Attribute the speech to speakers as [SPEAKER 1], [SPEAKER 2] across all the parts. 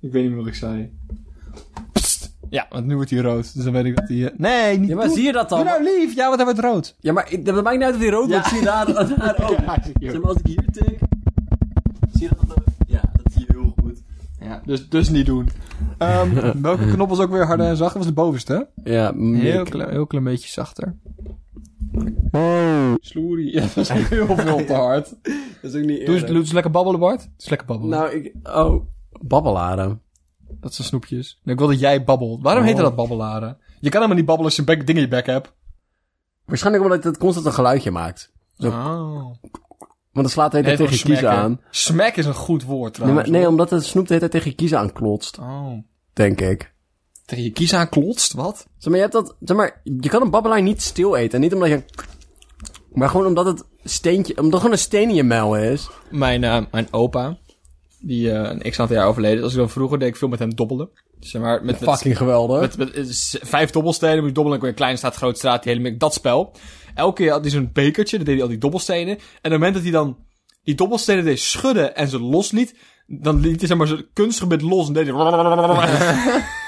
[SPEAKER 1] weet niet meer wat ik zei. Psst. Ja, want nu wordt hij rood. Dus dan weet ik dat hij... eh, Nee, niet
[SPEAKER 2] Ja, maar
[SPEAKER 1] doen.
[SPEAKER 2] zie je dat dan?
[SPEAKER 1] Doe nou lief. Ja, want hij wordt rood.
[SPEAKER 2] Ja, maar ik- dat maakt niet uit of die rood wordt. Zie je daar, daar ook.
[SPEAKER 1] Ja, zie je ook.
[SPEAKER 2] Zeg maar, als ik hier tik... Zie je dat dan? Ja, dat zie je heel goed.
[SPEAKER 1] Ja, dus, dus niet doen. Ehm, welke knop was ook weer harder en zachter? Dat was de bovenste, hè?
[SPEAKER 2] Ja,
[SPEAKER 1] Heel klein, heel klein beetje zachter. Sloerie. Ja, dat is ook heel veel te hard.
[SPEAKER 2] Dat is ook niet
[SPEAKER 1] Doe eens, doe eens lekker babbelen, Bart. Het is lekker babbelen.
[SPEAKER 2] Nou, ik... Oh, babbelaren.
[SPEAKER 1] Dat zijn snoepjes. Nee, ik wil dat jij babbelt. Waarom
[SPEAKER 2] Oh.
[SPEAKER 1] heette dat babbelaren? Je kan helemaal niet babbelen als je bek, ding in je bek hebt.
[SPEAKER 2] Waarschijnlijk omdat het constant een geluidje maakt. Zo.
[SPEAKER 1] Oh.
[SPEAKER 2] Want dan slaat hij
[SPEAKER 1] Nee,
[SPEAKER 2] tegen je
[SPEAKER 1] toch smack,
[SPEAKER 2] kiezen
[SPEAKER 1] hè?
[SPEAKER 2] aan.
[SPEAKER 1] Smack is een goed woord
[SPEAKER 2] Nee,
[SPEAKER 1] trouwens.
[SPEAKER 2] maar, nee, omdat het snoep de hele tijd tegen je kiezen aan klotst.
[SPEAKER 1] Oh.
[SPEAKER 2] Denk ik.
[SPEAKER 1] Tegen je kies aan klotst, wat?
[SPEAKER 2] Zeg maar, je, hebt dat, zeg maar, je kan een babbelaar niet stil eten. En niet omdat je... Maar gewoon omdat het steentje... Omdat gewoon een steen in je mel is.
[SPEAKER 1] Mijn, eh, mijn opa, die eh, een x aantal jaar overleden is. Als ik dan vroeger deed ik veel met hem dobbelen. Dus Zeg maar, met, met,
[SPEAKER 2] Fucking geweldig.
[SPEAKER 1] met, met, eh, z- vijf dobbelstenen moest je dobbelen. Dan kon je kleine straat, grote straat, die hele mik- Dat spel. Elke keer had hij zo'n bekertje, dan deed hij al die dobbelstenen. En op het moment dat hij dan die dobbelstenen deed schudden en ze losliet... Dan liet hij zeg maar zijn kunstgebied los en deed hij...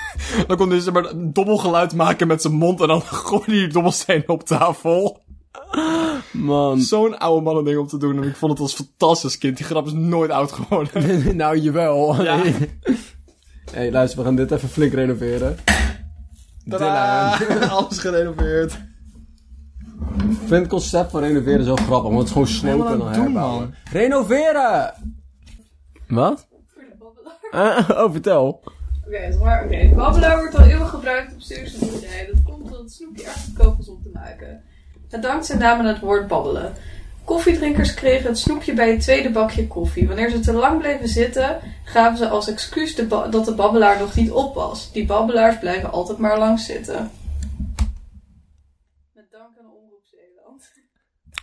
[SPEAKER 1] Dan kon hij zeg maar, een dobbelgeluid maken met zijn mond en dan gooide hij die dobbelstenen op tafel.
[SPEAKER 2] Man.
[SPEAKER 1] Zo'n oude mannen ding om te doen. En ik vond het als fantastisch kind. Die grap is nooit oud geworden.
[SPEAKER 2] nou, jawel.
[SPEAKER 1] Ja.
[SPEAKER 2] Hé, hey, luister, we gaan dit even flink renoveren.
[SPEAKER 1] Tadaa! Alles gerenoveerd.
[SPEAKER 2] Ik vind het concept van renoveren zo grappig, want het is gewoon slopen
[SPEAKER 1] Wat
[SPEAKER 2] en
[SPEAKER 1] aan
[SPEAKER 2] dan
[SPEAKER 1] het doen,
[SPEAKER 2] herbouwen.
[SPEAKER 1] man?
[SPEAKER 2] Renoveren! Wat?
[SPEAKER 3] Voor de babbelaar.
[SPEAKER 2] oh, vertel.
[SPEAKER 3] Oké, het is waar. Oké, de babbelaar wordt al eeuwig gebruikt om serieuze boerderijen. Dat komt omdat het snoepje erg goedkoop is om te maken. Het dankt zijn naam aan het woord babbelen. Koffiedrinkers kregen het snoepje bij het tweede bakje koffie. Wanneer ze te lang bleven zitten, gaven ze als excuus de ba- dat de babbelaar nog niet op was. Die babbelaars blijven altijd maar lang zitten. Met dank aan Omroep Zeeland.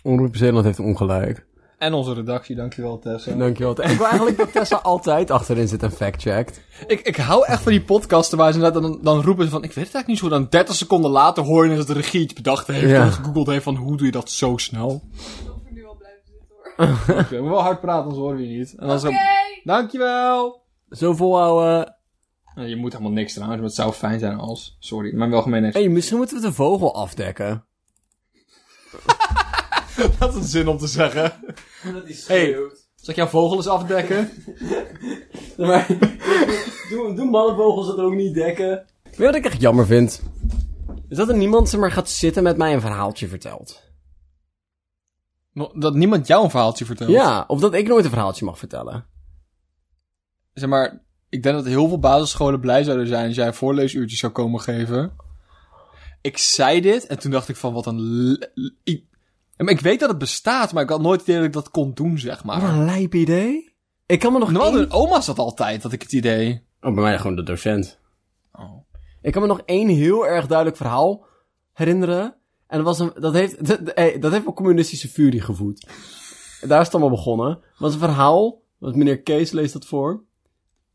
[SPEAKER 2] Omroep Zeeland heeft ongelijk.
[SPEAKER 1] En onze redactie, dankjewel Tessa.
[SPEAKER 2] Dankjewel. Ik wil eigenlijk dat Tessa altijd achterin zit en fact-checkt.
[SPEAKER 1] Ik, ik hou echt van die podcasten waar ze inderdaad dan, dan roepen ze van... Ik weet het eigenlijk niet zo. Dan 30 seconden later hoor je dat de regie het bedacht heeft.
[SPEAKER 2] Ja.
[SPEAKER 1] En gegoogeld heeft van hoe doe je dat zo snel.
[SPEAKER 3] Ik wil voor nu al blijven zitten hoor.
[SPEAKER 1] Oké, we moeten wel hard praten, anders horen we je niet. En dan
[SPEAKER 3] Oké!
[SPEAKER 1] zo... Dankjewel!
[SPEAKER 2] Zo volhouden.
[SPEAKER 1] Nou, je moet helemaal niks trouwens, maar het zou fijn zijn als... Sorry, maar wel gemeen niks.
[SPEAKER 2] Hé, hey, misschien moeten we de vogel afdekken.
[SPEAKER 1] Dat is een zin om te zeggen.
[SPEAKER 2] Dat is
[SPEAKER 1] Hey. Zal ik jouw vogel eens afdekken?
[SPEAKER 2] Maar, doen, doen mannenvogels dat ook niet dekken? Weet je wat ik echt jammer vind? Is dat er niemand zeg maar, gaat zitten met mij een verhaaltje vertelt.
[SPEAKER 1] Nog- Dat niemand jou een verhaaltje vertelt.
[SPEAKER 2] Ja, of dat ik nooit een verhaaltje mag vertellen.
[SPEAKER 1] zeg maar, ik denk dat heel veel basisscholen blij zouden zijn als jij een voorleesuurtje zou komen geven. Ik zei dit en toen dacht ik van wat een. l- l- i- Maar Ik weet dat het bestaat, maar ik had nooit het idee dat ik dat kon doen, zeg
[SPEAKER 2] Wat
[SPEAKER 1] maar.
[SPEAKER 2] een lijp idee. Ik kan me nog
[SPEAKER 1] Normaal
[SPEAKER 2] één...
[SPEAKER 1] doen oma's dat altijd, had ik het idee.
[SPEAKER 2] Oh, bij mij gewoon de docent.
[SPEAKER 1] Oh.
[SPEAKER 2] Ik kan me nog één heel erg duidelijk verhaal herinneren. En dat, was een, dat, heeft, dat, hey, dat heeft een communistische furie gevoed. Daar is het allemaal begonnen. Het was een verhaal, want meneer Kees leest dat voor.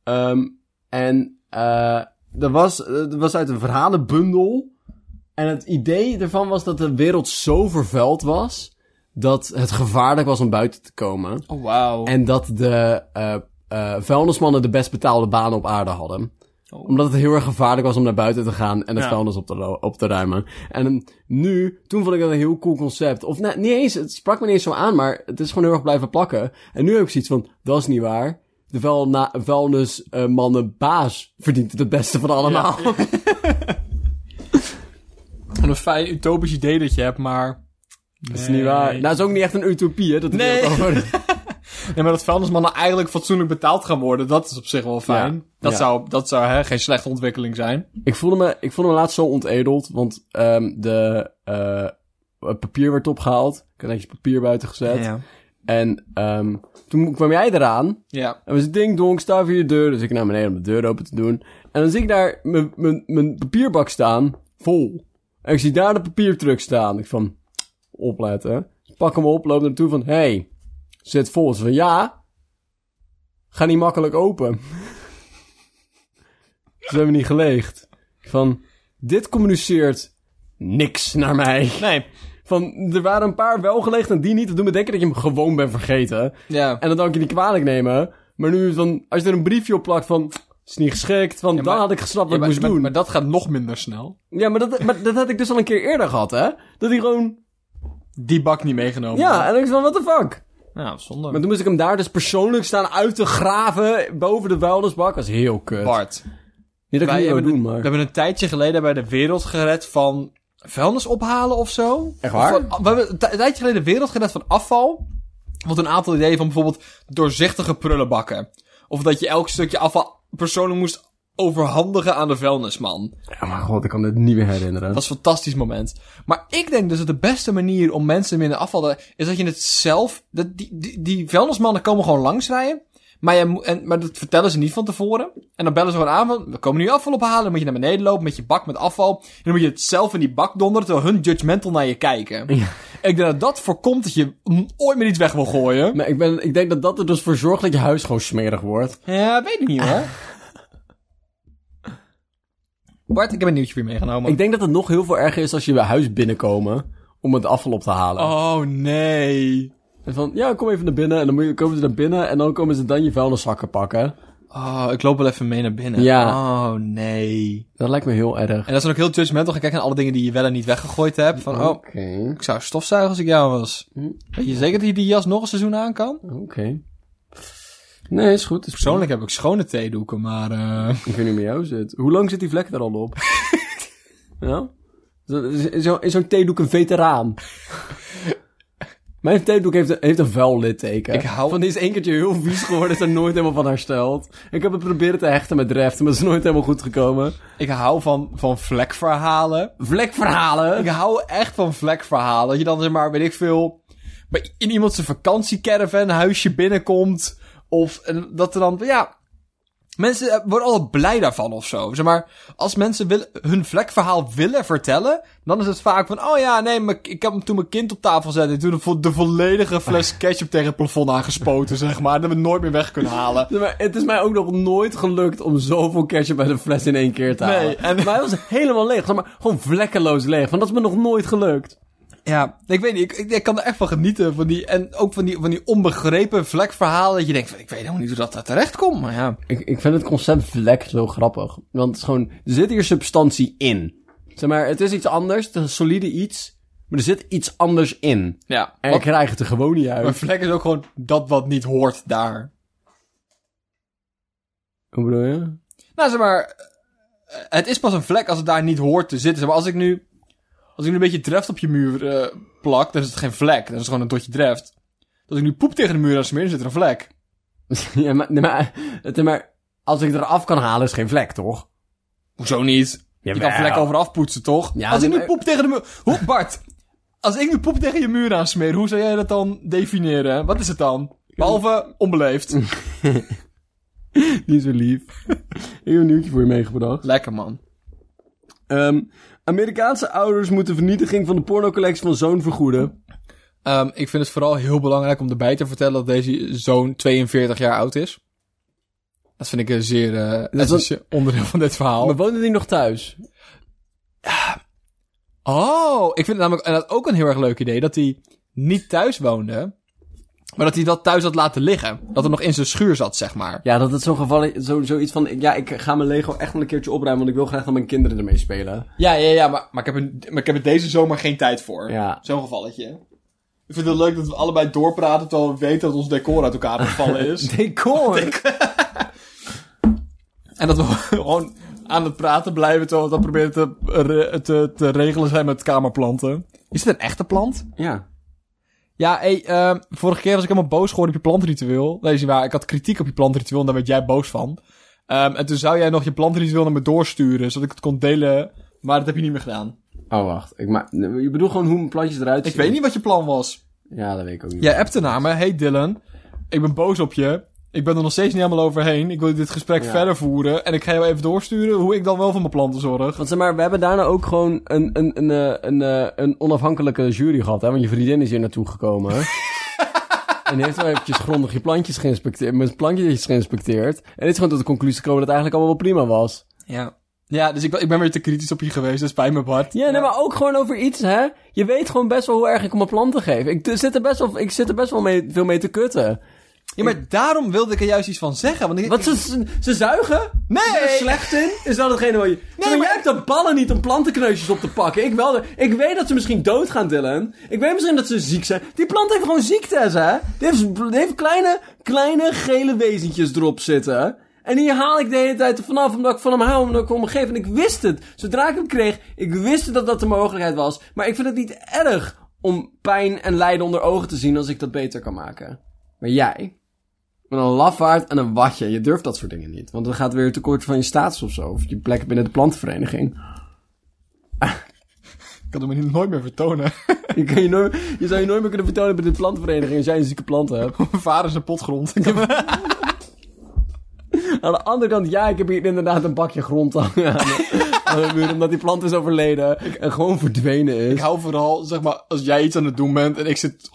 [SPEAKER 2] Ehm, en eh dat, was, eh, dat was uit een verhalenbundel. En het idee ervan was dat de wereld zo vervuild was... dat het gevaarlijk was om buiten te komen.
[SPEAKER 1] Oh, wauw.
[SPEAKER 2] En dat de eh, eh, vuilnismannen de best betaalde banen op aarde hadden.
[SPEAKER 1] Oh.
[SPEAKER 2] Omdat het heel erg gevaarlijk was om naar buiten te gaan en het
[SPEAKER 1] Ja.
[SPEAKER 2] vuilnis op te, lo- op te ruimen. En nu, toen vond ik dat een heel cool concept. Of nee, niet eens, het sprak me niet eens zo aan, maar het is gewoon heel erg blijven plakken. En nu heb ik zoiets van, dat is niet waar. De vuilna- vuilnismannen baas verdient het het beste van allemaal.
[SPEAKER 1] Wat een fijn utopisch idee dat je hebt, maar.
[SPEAKER 2] Dat is niet waar. Nou, het is ook niet echt een utopie, hè. Dat is
[SPEAKER 1] Nee.
[SPEAKER 2] ook over-
[SPEAKER 1] Nee, maar dat vuilnismannen eigenlijk fatsoenlijk betaald gaan worden, dat is op zich wel fijn.
[SPEAKER 2] Ja.
[SPEAKER 1] Dat
[SPEAKER 2] Ja.
[SPEAKER 1] zou, dat zou hè, geen slechte ontwikkeling zijn.
[SPEAKER 2] Ik voelde me, ik voelde me laatst zo onteedeld, want ehm, de, eh, het papier werd opgehaald. Ik had netjes papier buiten gezet. En ehm, toen kwam jij eraan.
[SPEAKER 1] Ja.
[SPEAKER 2] En was het ding dong, sta voor je deur. Dus ik naar beneden om de deur open te doen. En dan zie ik daar mijn- mijn mijn papierbak staan, vol. En ik zie daar de papiertruck staan. Ik van, opletten. Dus ik pak hem op, loop naartoe van, hey, zit vol. Ze van, ja, ga niet makkelijk open. Ze hebben niet geleegd. Ik Van, dit communiceert niks naar mij.
[SPEAKER 1] Nee.
[SPEAKER 2] Van, er waren een paar wel geleegd en die niet. Dat doet me denken dat je hem gewoon bent vergeten.
[SPEAKER 1] Ja.
[SPEAKER 2] En dat dan kan je niet kwalijk nemen. Maar nu, dan, als je er een briefje op plakt van... is niet geschikt, want
[SPEAKER 1] Ja, maar-
[SPEAKER 2] dan had ik gesnapt wat
[SPEAKER 1] maar,
[SPEAKER 2] ik moest
[SPEAKER 1] maar-
[SPEAKER 2] doen.
[SPEAKER 1] maar dat gaat nog minder snel.
[SPEAKER 2] ja, maar dat, maar dat had ik dus al een keer eerder gehad, hè? Dat hij gewoon...
[SPEAKER 1] Die bak niet meegenomen.
[SPEAKER 2] ja, en ik was van, what the fuck?
[SPEAKER 1] ja zonde.
[SPEAKER 2] Maar toen moest ik hem daar dus persoonlijk staan uit te graven boven de vuilnisbak. Dat is heel kut.
[SPEAKER 1] Bart.
[SPEAKER 2] Niet dat ik
[SPEAKER 1] Wij
[SPEAKER 2] het niet
[SPEAKER 1] hebben,
[SPEAKER 2] wil doen,
[SPEAKER 1] we
[SPEAKER 2] maar...
[SPEAKER 1] hebben een tijdje geleden bij de wereld gered van vuilnis ophalen of zo.
[SPEAKER 2] Echt waar?
[SPEAKER 1] Of van- we hebben een ti- een tijdje geleden de wereld gered van afval. Wat een aantal ideeën van bijvoorbeeld doorzichtige prullenbakken. Of dat je elk stukje afval persoonlijk moest overhandigen aan de vuilnisman.
[SPEAKER 2] Ja, maar god, ik kan dit niet meer herinneren.
[SPEAKER 1] Dat is een fantastisch moment. Maar ik denk dus dat de beste manier om mensen minder afval te... is dat je het zelf... Dat die, die, die vuilnismannen komen gewoon langsrijden. Maar, je, moet- en, maar dat vertellen ze niet van tevoren. En dan bellen ze gewoon aan van... We komen nu afval ophalen. Dan moet je naar beneden lopen met je bak met afval. En dan moet je het zelf in die bak donderen... terwijl hun judgmental naar je kijken.
[SPEAKER 2] Ja.
[SPEAKER 1] En ik denk dat dat voorkomt dat je mm, ooit meer iets weg wil gooien.
[SPEAKER 2] Maar ik, ben, ik denk dat dat er dus voor zorgt dat je huis gewoon smerig wordt.
[SPEAKER 1] Ja, weet ik niet hoor. Bart, ik heb een nieuwtje voor je meegenomen.
[SPEAKER 2] Ik denk dat het nog heel veel erger is als je bij huis binnenkomen om het afval op te halen.
[SPEAKER 1] Oh nee.
[SPEAKER 2] En van, ja, kom even naar binnen. En dan moet je- komen ze naar binnen en dan komen ze dan je vuilniszakken pakken.
[SPEAKER 1] Oh, ik loop wel even mee naar binnen.
[SPEAKER 2] Ja.
[SPEAKER 1] Oh, nee.
[SPEAKER 2] Dat lijkt me heel erg.
[SPEAKER 1] En dat is dan ook heel judgmental gaan kijken naar alle dingen die je wel en niet weggegooid hebt. Van, oh,
[SPEAKER 2] Oké,
[SPEAKER 1] ik zou stofzuigen als ik jou was.
[SPEAKER 2] Hm.
[SPEAKER 1] Weet je zeker dat je die jas nog een seizoen aan kan?
[SPEAKER 2] Mm. oké. Nee, is goed. Is
[SPEAKER 1] Persoonlijk heb ik schone theedoeken, maar... eh,
[SPEAKER 2] goed. Ik weet niet meer jou zit. Hoe lang zit die vlek er al op? ja? Zo- Is, zo- is zo'n theedoek een veteraan? Mijn theedoek heeft een, heeft een vuil litteken.
[SPEAKER 1] Ik hou-
[SPEAKER 2] Van die is één keertje heel vies geworden, is er nooit helemaal van hersteld. Ik heb het proberen te hechten met Reft, maar het is nooit helemaal goed gekomen.
[SPEAKER 1] ik hou van, van vlekverhalen.
[SPEAKER 2] Vlekverhalen!
[SPEAKER 1] Ik hou echt van vlekverhalen. Dat je dan, zeg maar, weet ik veel... bij- In iemand zijn vakantiecaravan huisje binnenkomt. Of eh, dat er dan... Ja, mensen eh, worden altijd blij daarvan of zo. Zeg maar, als mensen willen, hun vlekverhaal willen vertellen... dan is het vaak van... Oh ja, nee, maar ik- ik heb hem toen mijn kind op tafel zette... toen de, vo- de volledige fles ketchup tegen het plafond aangespoten, zeg maar. Dat we het nooit meer weg kunnen halen.
[SPEAKER 2] Nee, maar Het is mij ook nog nooit gelukt om zoveel ketchup bij de fles in één keer te halen.
[SPEAKER 1] Nee, en-
[SPEAKER 2] Maar hij was helemaal leeg. Zeg maar, gewoon vlekkeloos leeg. Want dat is me nog nooit gelukt.
[SPEAKER 1] Ja, ik weet niet. Ik, ik, ik kan er echt van genieten. Van die, en ook van die, van die onbegrepen vlekverhalen. Dat je denkt van, ik weet helemaal niet hoe dat daar terecht komt. Maar ja...
[SPEAKER 2] Ik, ik vind het concept vlek zo grappig. Want het is gewoon, er zit hier substantie in. Zeg maar, het is iets anders. Het is een solide iets. Maar er zit iets anders in.
[SPEAKER 1] Ja.
[SPEAKER 2] En ik krijg het er gewoon niet uit.
[SPEAKER 1] maar vlek is ook gewoon dat wat niet hoort daar.
[SPEAKER 2] Hoe bedoel je?
[SPEAKER 1] Nou, zeg maar. eh, Het is pas een vlek als het daar niet hoort te zitten. Zeg maar als ik nu. Als ik nu een beetje dreft op je muur eh, plak, dan is het geen vlek. Dan is het gewoon een dotje dreft. Als ik nu poep tegen de muur aan smeer, dan zit er een vlek.
[SPEAKER 2] ja, maar, nee, maar, het, maar als ik het eraf kan halen is geen vlek, toch?
[SPEAKER 1] Hoezo niet? Je kan
[SPEAKER 2] Jawel.
[SPEAKER 1] vlek over afpoetsen, toch?
[SPEAKER 2] Ja,
[SPEAKER 1] als ik nu
[SPEAKER 2] maar-
[SPEAKER 1] poep tegen de muur... Hoe, Bart? Als ik nu poep tegen je muur aan smeer, hoe zou jij dat dan definiëren? Wat is het dan? Behalve onbeleefd.
[SPEAKER 2] Niet zo lief. ik heb een nieuwtje voor je meegebracht.
[SPEAKER 1] Lekker, man.
[SPEAKER 2] Ehm, Amerikaanse ouders moeten vernietiging van de pornocollectie van zoon vergoeden.
[SPEAKER 1] Ehm, ik vind het vooral heel belangrijk om erbij te vertellen dat deze zoon 42 jaar oud is. Dat vind ik een zeer eh
[SPEAKER 2] is
[SPEAKER 1] essentieel onderdeel van dit verhaal.
[SPEAKER 2] Maar woonde die nog thuis?
[SPEAKER 1] Oh, ik vind het namelijk en dat ook een heel erg leuk idee dat hij niet thuis woonde, maar dat hij dat thuis had laten liggen. Dat het nog in zijn schuur zat, zeg maar.
[SPEAKER 2] Ja, dat het zo'n geval is. Zo, zoiets van, ja, ik ga mijn Lego echt wel een keertje opruimen, want ik wil graag dat mijn kinderen ermee spelen.
[SPEAKER 1] Ja, ja, ja, maar, maar, ik, heb er, maar ik heb er deze zomer geen tijd voor.
[SPEAKER 2] Ja.
[SPEAKER 1] Zo'n gevalletje. Ik vind het leuk dat we allebei doorpraten terwijl we weten dat ons decor uit elkaar gevallen is.
[SPEAKER 2] Decor!
[SPEAKER 1] En dat we gewoon aan het praten blijven terwijl we dat proberen te, re- te, te regelen zijn met kamerplanten. Is dit een echte plant?
[SPEAKER 2] ja.
[SPEAKER 1] Ja, hey, ehm, vorige keer was ik helemaal boos geworden op je plantritueel. Nee, is niet waar. Ik had kritiek op je plantritueel en daar werd jij boos van. Ehm, en toen zou jij nog je plantritueel naar me doorsturen, zodat ik het kon delen. Maar dat heb je niet meer gedaan.
[SPEAKER 2] Oh, wacht. Ik ma je bedoelt gewoon hoe mijn plantjes eruit
[SPEAKER 1] Ik
[SPEAKER 2] zien?
[SPEAKER 1] weet niet wat je plan was.
[SPEAKER 2] Ja, dat weet ik ook niet.
[SPEAKER 1] Jij appte naar me. Hey Dylan, ik ben boos op je. Ik ben er nog steeds niet helemaal overheen. Ik wil dit gesprek
[SPEAKER 2] Ja.
[SPEAKER 1] verder voeren. En ik ga jou even doorsturen hoe ik dan wel voor mijn planten zorg.
[SPEAKER 2] Want zeg maar, we hebben daarna ook gewoon een, een, een, eh, een, eh, een onafhankelijke jury gehad, hè? Want je vriendin is hier naartoe gekomen. en die heeft wel eventjes grondig je plantjes geïnspecteerd, mijn plantjes geïnspecteerd. En dit is gewoon tot de conclusie gekomen dat het eigenlijk allemaal wel prima was.
[SPEAKER 1] Ja. Ja, dus ik, ik ben weer te kritisch op je geweest. Dat spijt me, Bart.
[SPEAKER 2] Ja, nee, maar ook gewoon over iets, hè? Je weet gewoon best wel hoe erg ik om mijn planten geef. Ik t- zit er best wel, ik zit er best wel mee, veel mee te kutten.
[SPEAKER 1] Ja, maar daarom wilde ik er juist iets van zeggen. Want ik,
[SPEAKER 2] Wat, ze, ze, ze zuigen?
[SPEAKER 1] Nee!
[SPEAKER 2] Ze zijn er slecht in? Is dat hetgene waar je... Zeg, maar
[SPEAKER 1] maar-
[SPEAKER 2] jij hebt de ballen niet om plantenkneusjes op te pakken. Ik wel. Ik weet dat ze misschien doodgaan, Dylan. Ik weet misschien dat ze ziek zijn. Die plant heeft gewoon ziektes, hè? Die heeft, die heeft kleine, kleine gele wezentjes erop zitten. En die haal ik de hele tijd er vanaf, omdat ik van hem hou, omdat ik om hem geef. En ik wist het. Zodra ik hem kreeg, ik wist dat dat de mogelijkheid was. Maar ik vind het niet erg om pijn en lijden onder ogen te zien als ik dat beter kan maken. Maar jij... Met een lafaard en een watje. Je durft dat soort dingen niet. Want dan gaat weer tekort van je status of zo. Of je plek binnen de plantenvereniging.
[SPEAKER 1] ik kan hem niet- nooit meer vertonen.
[SPEAKER 2] Je, kan je, nooit, je zou je nooit meer kunnen vertonen bij de plantenvereniging als jij een zieke plant hebt.
[SPEAKER 1] Mijn vader is een potgrond.
[SPEAKER 2] Aan de andere kant, ja, ik heb hier inderdaad een bakje grond aan, de- aan de muur. Omdat die plant is overleden en gewoon verdwenen
[SPEAKER 1] ik
[SPEAKER 2] is.
[SPEAKER 1] hou vooral, zeg maar, als jij iets aan het doen bent en ik zit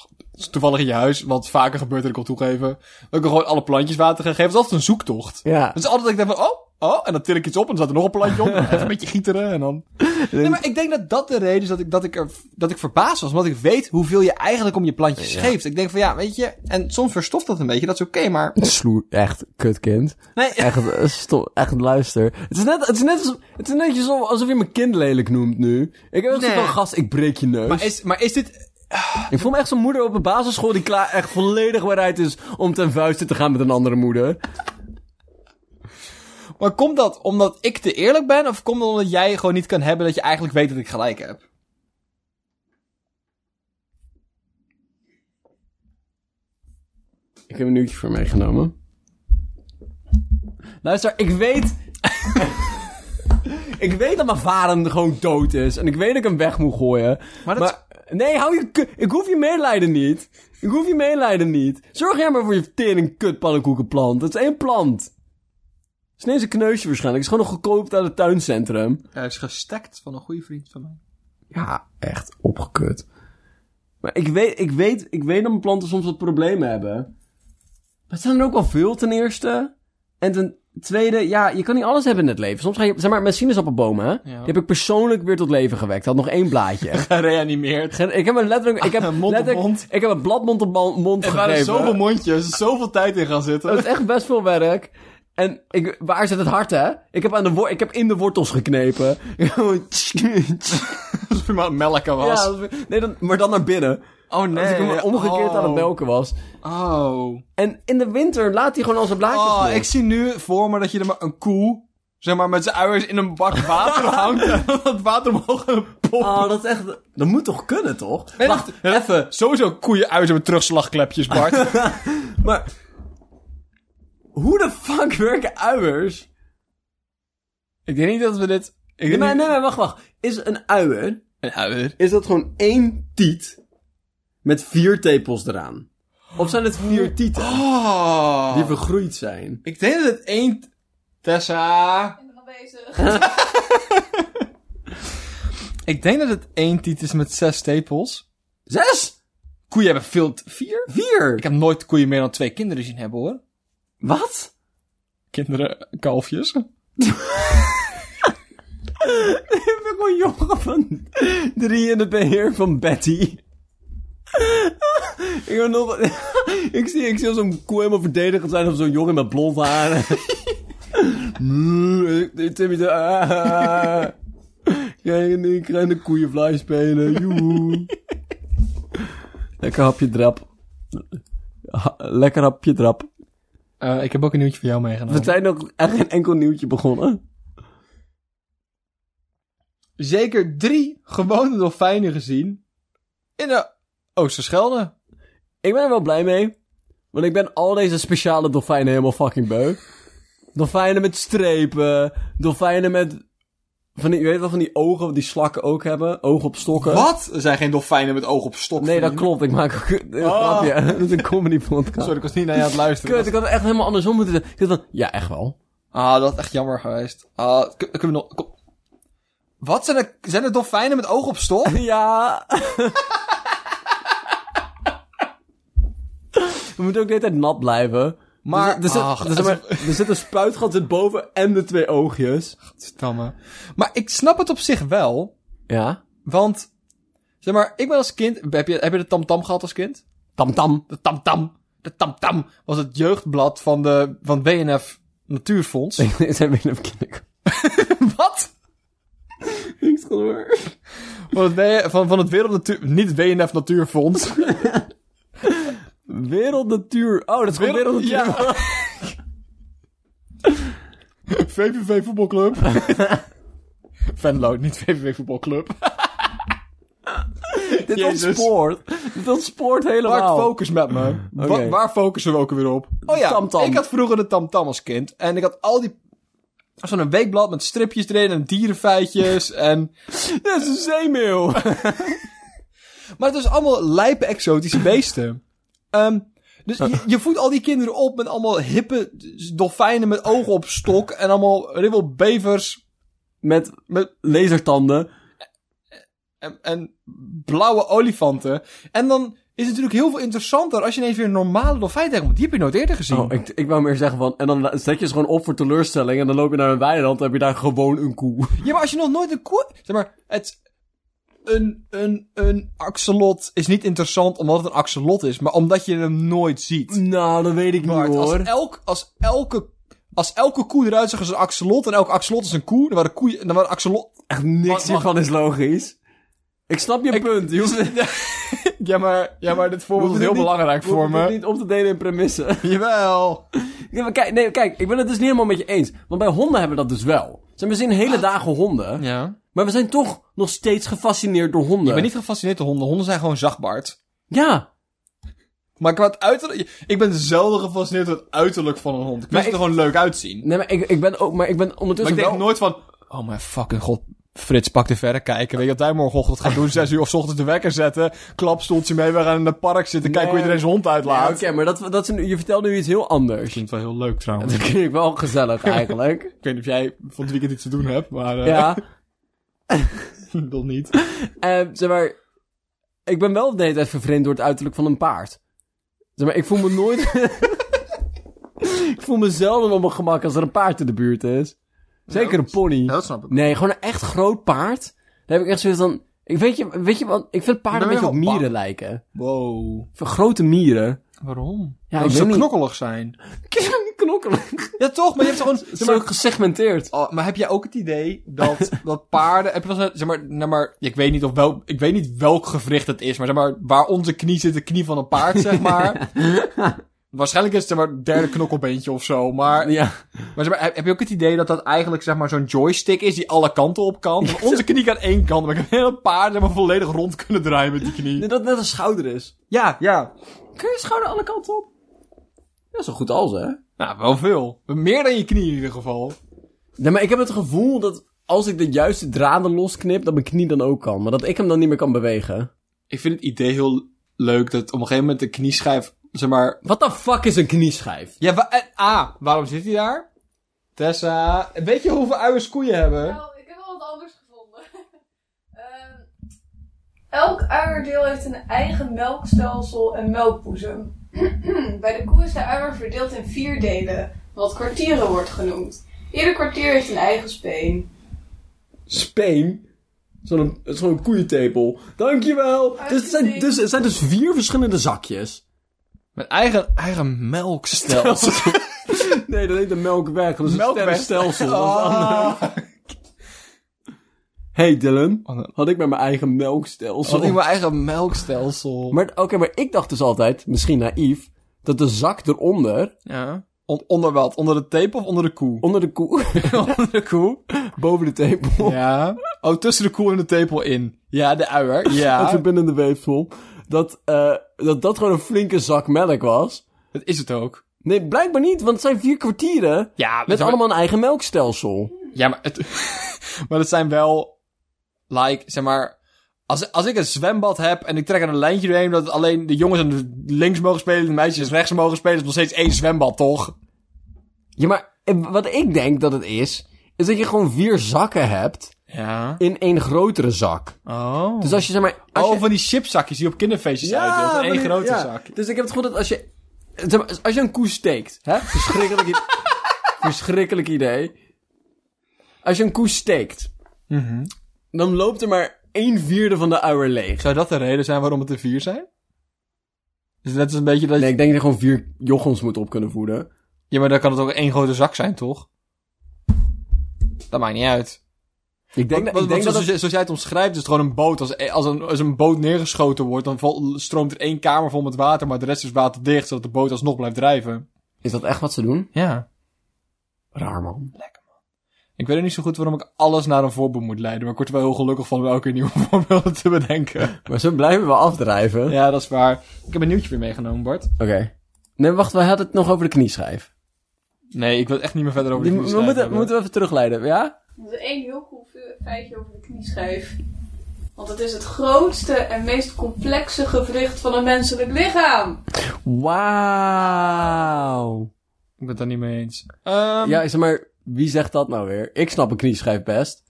[SPEAKER 1] toevallig in je huis, wat vaker gebeurt dat ik wil toegeven, dat ik dan gewoon alle plantjes water ga geven. Dat is altijd een zoektocht.
[SPEAKER 2] Ja.
[SPEAKER 1] Dus altijd dat ik denk van, oh, oh, en dan til ik iets op en dan staat er nog een plantje op. en even een beetje gieteren en dan... Nee, maar ik denk dat dat de reden is dat ik, dat ik, er, dat ik verbaasd was. Omdat ik weet hoeveel je eigenlijk om je plantjes geeft. Ik denk van, ja, weet je, en soms verstoft dat een beetje, dat is oké, maar...
[SPEAKER 2] Sloer, echt kutkind.
[SPEAKER 1] Nee,
[SPEAKER 2] Echt, eh, sto- echt luister. Het is net, het is net, alsof, het is net alsof, alsof je mijn kind lelijk noemt nu. Ik heb echt
[SPEAKER 1] Nee.
[SPEAKER 2] zoiets van, gast, ik breek je neus.
[SPEAKER 1] maar is, maar is dit...
[SPEAKER 2] Ik voel me echt zo'n moeder op een basisschool die klaar echt volledig bereid is om ten vuiste te gaan met een andere moeder.
[SPEAKER 1] Maar komt dat omdat ik te eerlijk ben? Of komt dat omdat jij gewoon niet kan hebben dat je eigenlijk weet dat ik gelijk heb?
[SPEAKER 2] Ik heb een nieuwtje voor meegenomen. Luister, ik weet. ik weet dat mijn vader gewoon dood is. En ik weet dat ik hem weg moet gooien.
[SPEAKER 1] Maar
[SPEAKER 2] Maar,
[SPEAKER 1] dat-
[SPEAKER 2] nee, hou je. ku- Ik hoef je medelijden niet. Ik hoef je medelijden niet. Zorg jij maar voor je tering kut pannenkoekenplant. Dat is één plant. Het is niet eens een kneusje waarschijnlijk. Het is gewoon nog gekoopt uit het tuincentrum.
[SPEAKER 1] Hij is gestekt van een goede vriend van mij.
[SPEAKER 2] Ja, echt opgekut. Maar ik weet, ik weet, ik weet dat mijn planten soms wat problemen hebben. Maar het zijn er ook wel veel ten eerste. En ten tweede, ja, je kan niet alles hebben in het leven. Soms ga je, zeg maar, mijn sinaasappelbomen, hè? Die heb ik persoonlijk weer tot leven gewekt. Had nog één blaadje.
[SPEAKER 1] Gereanimeerd.
[SPEAKER 2] Geen- ik heb een letterlijk, ik heb
[SPEAKER 1] Mond op
[SPEAKER 2] letterlijk,
[SPEAKER 1] mond.
[SPEAKER 2] ik heb een blad mond op man- mond
[SPEAKER 1] Er
[SPEAKER 2] gegeven.
[SPEAKER 1] waren zoveel mondjes, zoveel tijd in gaan zitten.
[SPEAKER 2] Dat is echt best veel werk. En ik, waar zit het hart, hè? Ik heb, aan de wo- ik heb in de wortels geknepen.
[SPEAKER 1] Alsof je maar aan het melken was.
[SPEAKER 2] Ja, dat is- nee, dan, maar dan naar binnen.
[SPEAKER 1] oh nee.
[SPEAKER 2] Als ik hem omgekeerd
[SPEAKER 1] oh.
[SPEAKER 2] aan het melken was.
[SPEAKER 1] Oh.
[SPEAKER 2] En in de winter laat hij gewoon al zijn blaadjes
[SPEAKER 1] Oh,
[SPEAKER 2] los.
[SPEAKER 1] ik zie nu voor me dat je er maar een koe, zeg maar, met zijn uiers in een bak water hangt. En dat het water omhoog gaat pompen.
[SPEAKER 2] Oh, dat is echt... Dat moet toch kunnen, toch?
[SPEAKER 1] Nee,
[SPEAKER 2] Wacht,
[SPEAKER 1] dat-
[SPEAKER 2] even.
[SPEAKER 1] Sowieso koeien uizen met terugslagklepjes, Bart.
[SPEAKER 2] Maar... Hoe de fuck werken uiers?
[SPEAKER 1] ik denk niet dat we dit... Ik
[SPEAKER 2] Nee,
[SPEAKER 1] denk
[SPEAKER 2] maar,
[SPEAKER 1] niet...
[SPEAKER 2] nee, maar wacht, wacht. Is een uier...
[SPEAKER 1] Een uier.
[SPEAKER 2] Is dat gewoon één tiet met vier tepels eraan? Of zijn het vier tieten
[SPEAKER 1] Oh.
[SPEAKER 2] die vergroeid zijn?
[SPEAKER 1] Ik denk dat het één... Tessa...
[SPEAKER 3] Ik ben al bezig.
[SPEAKER 1] Ik denk dat het één tiet is met zes stapels.
[SPEAKER 2] Zes?
[SPEAKER 1] Koeien hebben veel... t- Vier?
[SPEAKER 2] Vier?
[SPEAKER 1] Ik heb nooit koeien meer dan twee kinderen zien hebben, hoor.
[SPEAKER 2] Wat?
[SPEAKER 1] Kinderen, kalfjes.
[SPEAKER 2] Ik ben gewoon een jongen van drie in het beheer van Betty. ik, ben nog, ik zie, ik zie al zo'n koe helemaal verdedigend zijn op zo'n jongen met blond haar. Mm, Timmy zo... ah. Krijg een ik ga in de koeienvlaai spelen. Joehoe. Lekker hapje drap. Ha- Lekker hapje drap.
[SPEAKER 1] Eh, ik heb ook een nieuwtje voor jou meegenomen.
[SPEAKER 2] We zijn nog echt geen enkel nieuwtje begonnen.
[SPEAKER 1] zeker drie gewone dolfijnen gezien in de Oosterschelde.
[SPEAKER 2] Ik ben er wel blij mee. Want ik ben al deze speciale dolfijnen helemaal fucking beu. Dolfijnen met strepen. Dolfijnen met... Van die, je weet wel van die ogen wat die slakken ook hebben. Ogen op stokken.
[SPEAKER 1] Wat? Er zijn geen dolfijnen met oog op stok.
[SPEAKER 2] Nee, dat
[SPEAKER 1] vriend.
[SPEAKER 2] klopt. Ik maak ook een
[SPEAKER 1] Oh.
[SPEAKER 2] grapje. Dat is een comedy podcast.
[SPEAKER 1] Sorry, ik was niet naar je aan het luisteren.
[SPEAKER 2] Kut, ik had het echt helemaal andersom moeten doen. Ik dacht van, ja, echt wel.
[SPEAKER 1] Ah, dat is echt jammer geweest. Ah, kun- kunnen we nog... kom- Wat? Zijn er, zijn er dolfijnen met oog op stok?
[SPEAKER 2] Ja. We moeten ook de hele tijd nat blijven.
[SPEAKER 1] Maar-
[SPEAKER 2] er, zit- er zit,
[SPEAKER 1] ach,
[SPEAKER 2] er, zit
[SPEAKER 1] alsof-
[SPEAKER 2] maar- er zit een spuitgat zit boven en de twee oogjes.
[SPEAKER 1] Godverdamme. Maar ik snap het op zich wel,
[SPEAKER 2] Ja.
[SPEAKER 1] want... Zeg maar, ik ben als kind... Heb je, heb je de tamtam gehad als kind?
[SPEAKER 2] Tam tam.
[SPEAKER 1] De tamtam. de Tam Tam was het jeugdblad van, de, van WNF Natuurfonds.
[SPEAKER 2] Zijn we even kinderkant?
[SPEAKER 1] Wat?
[SPEAKER 2] Niks gehoord.
[SPEAKER 1] Van het, W- van, van het Wereld Natuur... Niet WNF Natuurfonds.
[SPEAKER 2] Wereldnatuur. Oh, dat is gewoon
[SPEAKER 1] Wereld- ja.
[SPEAKER 2] wereldnatuur.
[SPEAKER 1] VVV Voetbalclub. Venlo, niet VVV Voetbalclub.
[SPEAKER 2] Dit
[SPEAKER 1] Jezus.
[SPEAKER 2] ontspoort. Dit ontspoort
[SPEAKER 1] Waar
[SPEAKER 2] helemaal.
[SPEAKER 1] focus met me? Wa-
[SPEAKER 2] Oké.
[SPEAKER 1] waar focussen we ook weer op? Oh ja,
[SPEAKER 2] Tamtam.
[SPEAKER 1] ik had vroeger de tamtam als kind. En ik had al die... Zo'n weekblad met stripjes erin en dierenfeitjes en...
[SPEAKER 2] Dit is een zeemeel.
[SPEAKER 1] Maar het is allemaal lijpe exotische beesten. Ehm, dus je, je voedt al die kinderen op met allemaal hippe dolfijnen met ogen op stok. En allemaal ribbelbevers
[SPEAKER 2] Met
[SPEAKER 1] met,
[SPEAKER 2] lasertanden.
[SPEAKER 1] en, en blauwe olifanten. En dan is het natuurlijk heel veel interessanter als je ineens weer een normale dolfijn tegenkomt. Die heb je nooit eerder gezien.
[SPEAKER 2] Oh, ik, ik wou meer zeggen van... En dan la- zet je ze gewoon op voor teleurstelling... en dan loop je naar een weiland en heb je daar gewoon een koe.
[SPEAKER 1] Ja, maar als je nog nooit een koe... Zeg maar, het... Een, een, een axolot is niet interessant omdat het een axolot is, maar omdat je hem nooit ziet.
[SPEAKER 2] Nou, dat weet ik
[SPEAKER 1] Maar
[SPEAKER 2] niet
[SPEAKER 1] als,
[SPEAKER 2] hoor.
[SPEAKER 1] elk, als, elke, als elke koe eruit zag als een axolot en elke axolot is een koe, dan waren koeien... Dan waren axolot...
[SPEAKER 2] Echt niks
[SPEAKER 1] Wacht, wacht.
[SPEAKER 2] hiervan is logisch. Ik snap je punt. Je hoeft,
[SPEAKER 1] Ja, maar, ja, maar dit
[SPEAKER 2] We
[SPEAKER 1] voorbeeld
[SPEAKER 2] hoeven dit niet-
[SPEAKER 1] belangrijk
[SPEAKER 2] we hoeven dit niet op te delen in premissen.
[SPEAKER 1] Jawel.
[SPEAKER 2] Ja, maar kijk, nee, kijk, ik ben het dus niet helemaal met je eens. Want bij honden hebben we dat dus wel. Zijn we zien hele dagen honden.
[SPEAKER 1] Ja.
[SPEAKER 2] Maar we zijn toch nog steeds gefascineerd door honden.
[SPEAKER 1] Ik ben niet gefascineerd door honden. Honden zijn gewoon zachtbaard.
[SPEAKER 2] Ja,
[SPEAKER 1] Maar qua het uiterlijk... Ik ben zelden gefascineerd door het uiterlijk van een hond. Ik vind
[SPEAKER 2] Maar
[SPEAKER 1] ze er gewoon leuk uitzien.
[SPEAKER 2] nee, maar ik, ik ben ook, maar ik ben
[SPEAKER 1] Maar
[SPEAKER 2] ondertussen
[SPEAKER 1] ik denk
[SPEAKER 2] wel...
[SPEAKER 1] nooit van... Oh mijn fucking god, Frits, pak de verrekijker. Weet je wat wij morgenochtend gaan doen? Zes uur of 's ochtends de wekker zetten. Klapstoeltje mee, we gaan in het park zitten. Kijken hoe
[SPEAKER 2] Nee.
[SPEAKER 1] iedereen zijn hond
[SPEAKER 2] Ja,
[SPEAKER 1] uitlaat.
[SPEAKER 2] Oké, maar dat, dat is een- je vertelt nu iets heel anders.
[SPEAKER 1] Klinkt wel heel leuk trouwens.
[SPEAKER 2] Dat vind ik wel gezellig eigenlijk.
[SPEAKER 1] Ik weet niet of jij van het weekend iets te doen hebt, maar... eh,
[SPEAKER 2] ja,
[SPEAKER 1] ik wil niet.
[SPEAKER 2] Eh, zeg maar, ik ben wel de hele tijd vervreemd door het uiterlijk van een paard. Zeg maar, ik voel me nooit... ik voel me zelden op mijn gemak als er een paard in de buurt is. Zeker een pony.
[SPEAKER 1] snap ik.
[SPEAKER 2] Nee, gewoon een echt groot paard. Daar heb ik echt zoiets van... Ik weet je, weet je wat? Ik vind paarden
[SPEAKER 1] Ben
[SPEAKER 2] een
[SPEAKER 1] je
[SPEAKER 2] beetje op
[SPEAKER 1] wel
[SPEAKER 2] mieren
[SPEAKER 1] bang?
[SPEAKER 2] lijken.
[SPEAKER 1] Wow.
[SPEAKER 2] Van grote mieren.
[SPEAKER 1] Waarom?
[SPEAKER 2] Ja,
[SPEAKER 1] Omdat ze
[SPEAKER 2] ik weet niet.
[SPEAKER 1] knokkelig zijn.
[SPEAKER 2] Oh, Knokkelig.
[SPEAKER 1] Ja, toch? Maar je hebt gewoon... zeg
[SPEAKER 2] Zo
[SPEAKER 1] maar,
[SPEAKER 2] gesegmenteerd.
[SPEAKER 1] Oh, maar heb jij ook het idee dat, dat paarden... Heb je wel eens- zeg maar, nou maar, ik, weet niet of wel, ik weet niet welk gewricht het is, maar, zeg maar waar onze knie zit, de knie van een paard, zeg maar. Waarschijnlijk is het zeg maar derde knokkelbeentje of zo. Maar,
[SPEAKER 2] Ja.
[SPEAKER 1] maar, zeg maar heb, heb je ook het idee dat dat eigenlijk zeg maar, zo'n joystick is die alle kanten op kan? Want onze knie kan één kant, maar ik heb een hele paard zeg maar, volledig rond kunnen draaien met die knie.
[SPEAKER 2] Dat het net een schouder is.
[SPEAKER 1] Ja, ja.
[SPEAKER 2] Kun je schouder alle kanten op? Ja, zo goed als, hè?
[SPEAKER 1] Nou, wel veel. Meer dan je knie in ieder geval.
[SPEAKER 2] Nee, maar ik heb het gevoel dat als ik de juiste draden losknip, dat mijn knie dan ook kan. Maar dat ik hem dan niet meer kan bewegen.
[SPEAKER 1] Ik vind het idee heel leuk dat op een gegeven moment de knieschijf, zeg maar,
[SPEAKER 2] Wat de fuck is een knieschijf?
[SPEAKER 1] Ja, wa- en A, waarom zit hij daar? Tessa, weet je hoeveel uiers koeien hebben?
[SPEAKER 3] Nou, ik heb wel wat anders gevonden. Ehm, elk uierdeel heeft een eigen melkstelsel en melkboezem. Bij de koe is de uier verdeeld in vier delen, wat kwartieren wordt genoemd. Ieder kwartier heeft een eigen speen.
[SPEAKER 2] Speen? Zo'n zo'n koeientepel. Dankjewel! Dus het, zijn, dus het zijn dus vier verschillende zakjes.
[SPEAKER 1] Mijn eigen, eigen melkstelsel.
[SPEAKER 2] nee, dat heet een melkweg. Ah. Dat is een stelsel.
[SPEAKER 1] Oh.
[SPEAKER 2] Hey Dylan,
[SPEAKER 1] Wat een-
[SPEAKER 2] had ik met mijn eigen melkstelsel.
[SPEAKER 1] Had ik mijn eigen melkstelsel.
[SPEAKER 2] Maar oké, maar ik dacht dus altijd, misschien naïef, dat de zak eronder,
[SPEAKER 1] ja. On- onder wat? Onder de tape of onder de koe?
[SPEAKER 2] onder de koe,
[SPEAKER 1] onder de koe.
[SPEAKER 2] boven de tepel,
[SPEAKER 1] Ja. Oh, tussen de koe en de tepel in. Ja, de uier.
[SPEAKER 2] het
[SPEAKER 1] Ja.
[SPEAKER 2] verbindende weefsel, dat, eh, dat dat gewoon een flinke zak melk was.
[SPEAKER 1] Dat is het ook.
[SPEAKER 2] Nee, blijkbaar niet, want het zijn vier kwartieren
[SPEAKER 1] Ja,
[SPEAKER 2] met allemaal een eigen melkstelsel.
[SPEAKER 1] Ja, maar het, maar het zijn wel, like, zeg maar, als, als ik een zwembad heb en ik trek er een lijntje doorheen dat alleen de jongens aan de links mogen spelen en de meisjes rechts mogen spelen, is nog steeds één zwembad, toch?
[SPEAKER 2] Ja, maar eh, wat ik denk dat het is, is dat je gewoon vier zakken hebt
[SPEAKER 1] Ja.
[SPEAKER 2] in één grotere zak.
[SPEAKER 1] Oh.
[SPEAKER 2] Dus als je zeg maar... Als
[SPEAKER 1] oh,
[SPEAKER 2] je-
[SPEAKER 1] van die chipzakjes die op kinderfeestjes uitdeelt. in één
[SPEAKER 2] maar-
[SPEAKER 1] grote
[SPEAKER 2] ja.
[SPEAKER 1] zak.
[SPEAKER 2] Dus ik heb het gevoel dat als je... zeg maar, als je een koe steekt, hè? Verschrikkelijk, i- verschrikkelijk idee. Als je een koe steekt, Mhm. dan loopt er maar een vierde van de uier leeg.
[SPEAKER 1] Zou dat de reden zijn waarom het er vier zijn? Dus dat is een beetje dat je...
[SPEAKER 2] Nee, ik denk dat je gewoon vier jochels moet op kunnen voeden.
[SPEAKER 1] Ja, maar dan kan het ook één grote zak zijn, toch? Dat maakt niet uit.
[SPEAKER 2] Ik denk,
[SPEAKER 1] Want-
[SPEAKER 2] dat- ik
[SPEAKER 1] want
[SPEAKER 2] denk dat
[SPEAKER 1] zoals,
[SPEAKER 2] het-
[SPEAKER 1] zoals jij het omschrijft, is het gewoon een boot. Als, e- als, een, als een boot neergeschoten wordt, dan val- stroomt er één kamer vol met water, maar de rest is waterdicht, zodat de boot alsnog blijft drijven.
[SPEAKER 2] Is dat echt wat ze doen?
[SPEAKER 1] Ja.
[SPEAKER 2] Raar, man.
[SPEAKER 1] Ik weet ook niet zo goed waarom ik alles naar een voorbeeld moet leiden, maar ik word er wel heel gelukkig van om elke keer nieuwe voorbeelden te bedenken.
[SPEAKER 2] Maar zo blijven we afdrijven.
[SPEAKER 1] Ja, dat is waar. Ik heb een nieuwtje weer meegenomen, Bart.
[SPEAKER 2] Oké. Nee, wacht, we hadden het nog over de knieschijf.
[SPEAKER 1] Nee, ik wil het echt niet meer verder over
[SPEAKER 2] Die,
[SPEAKER 1] de
[SPEAKER 2] we
[SPEAKER 1] knieschijf
[SPEAKER 2] moeten,
[SPEAKER 1] hebben.
[SPEAKER 2] moeten we even terugleiden, ja?
[SPEAKER 3] Dat is één heel cool fe- feitje over de knieschijf. Want het is het grootste en meest complexe gewricht van een menselijk lichaam.
[SPEAKER 2] Wauw.
[SPEAKER 1] Ik ben het daar niet mee eens. Ehm,
[SPEAKER 2] Ja, ik zeg maar, wie zegt dat nou weer? Ik snap een knieschijf best.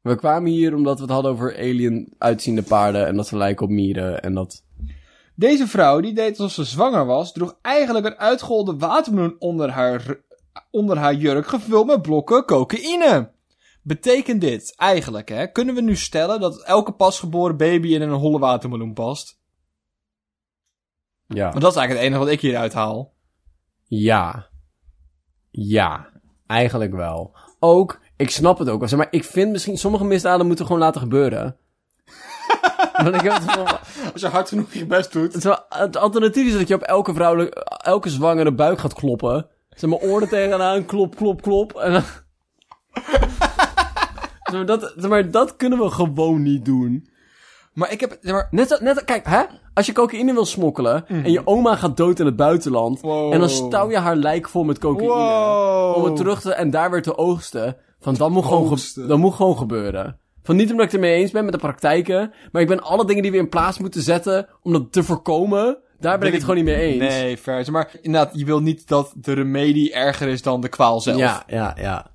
[SPEAKER 2] We kwamen hier omdat we het hadden over alien uitziende paarden en dat ze lijken op mieren en dat...
[SPEAKER 1] Deze vrouw, die deed alsof ze zwanger was, droeg eigenlijk een uitgeholde watermeloen onder haar, onder haar jurk, gevuld met blokken cocaïne. Betekent dit eigenlijk, hè? Kunnen we nu stellen dat elke pasgeboren baby in een holle watermeloen past?
[SPEAKER 2] Ja.
[SPEAKER 1] Want dat is eigenlijk het enige wat ik hieruit haal.
[SPEAKER 2] Ja. Ja. Eigenlijk wel. Ook, ik snap het ook wel. Zeg maar, ik vind misschien sommige misdaden moeten we gewoon laten gebeuren. Want ik heb het gevoel-
[SPEAKER 1] Als je hard genoeg je best doet.
[SPEAKER 2] het, is wel- het alternatief is dat je op elke vrouwelijke, elke zwangere buik gaat kloppen. Zeg maar, oren tegenaan, klop, klop, klop. En dan... Zeg maar, dat, zeg maar, dat kunnen we gewoon niet doen.
[SPEAKER 1] Maar ik heb... zeg maar,
[SPEAKER 2] Net, als- net, als- kijk, hè? Als je cocaïne wil smokkelen en je oma gaat dood in het buitenland...
[SPEAKER 1] Mhm. Wow.
[SPEAKER 2] en dan stouw je haar lijk vol met cocaïne...
[SPEAKER 1] wow.
[SPEAKER 2] Om het terug te... En daar weer te oogsten. Van, dat moet, gewoon ge-
[SPEAKER 1] Oogsten.
[SPEAKER 2] dat moet gewoon gebeuren. Van niet omdat ik het ermee eens ben met de praktijken. Maar ik ben alle dingen die we in plaats moeten zetten. Om dat te voorkomen. Daar ben, ik het gewoon niet mee eens.
[SPEAKER 1] Nee, ver. Zeg Maar inderdaad, je wil niet dat de remedie erger is dan de kwaal zelf.
[SPEAKER 2] Ja, ja, ja.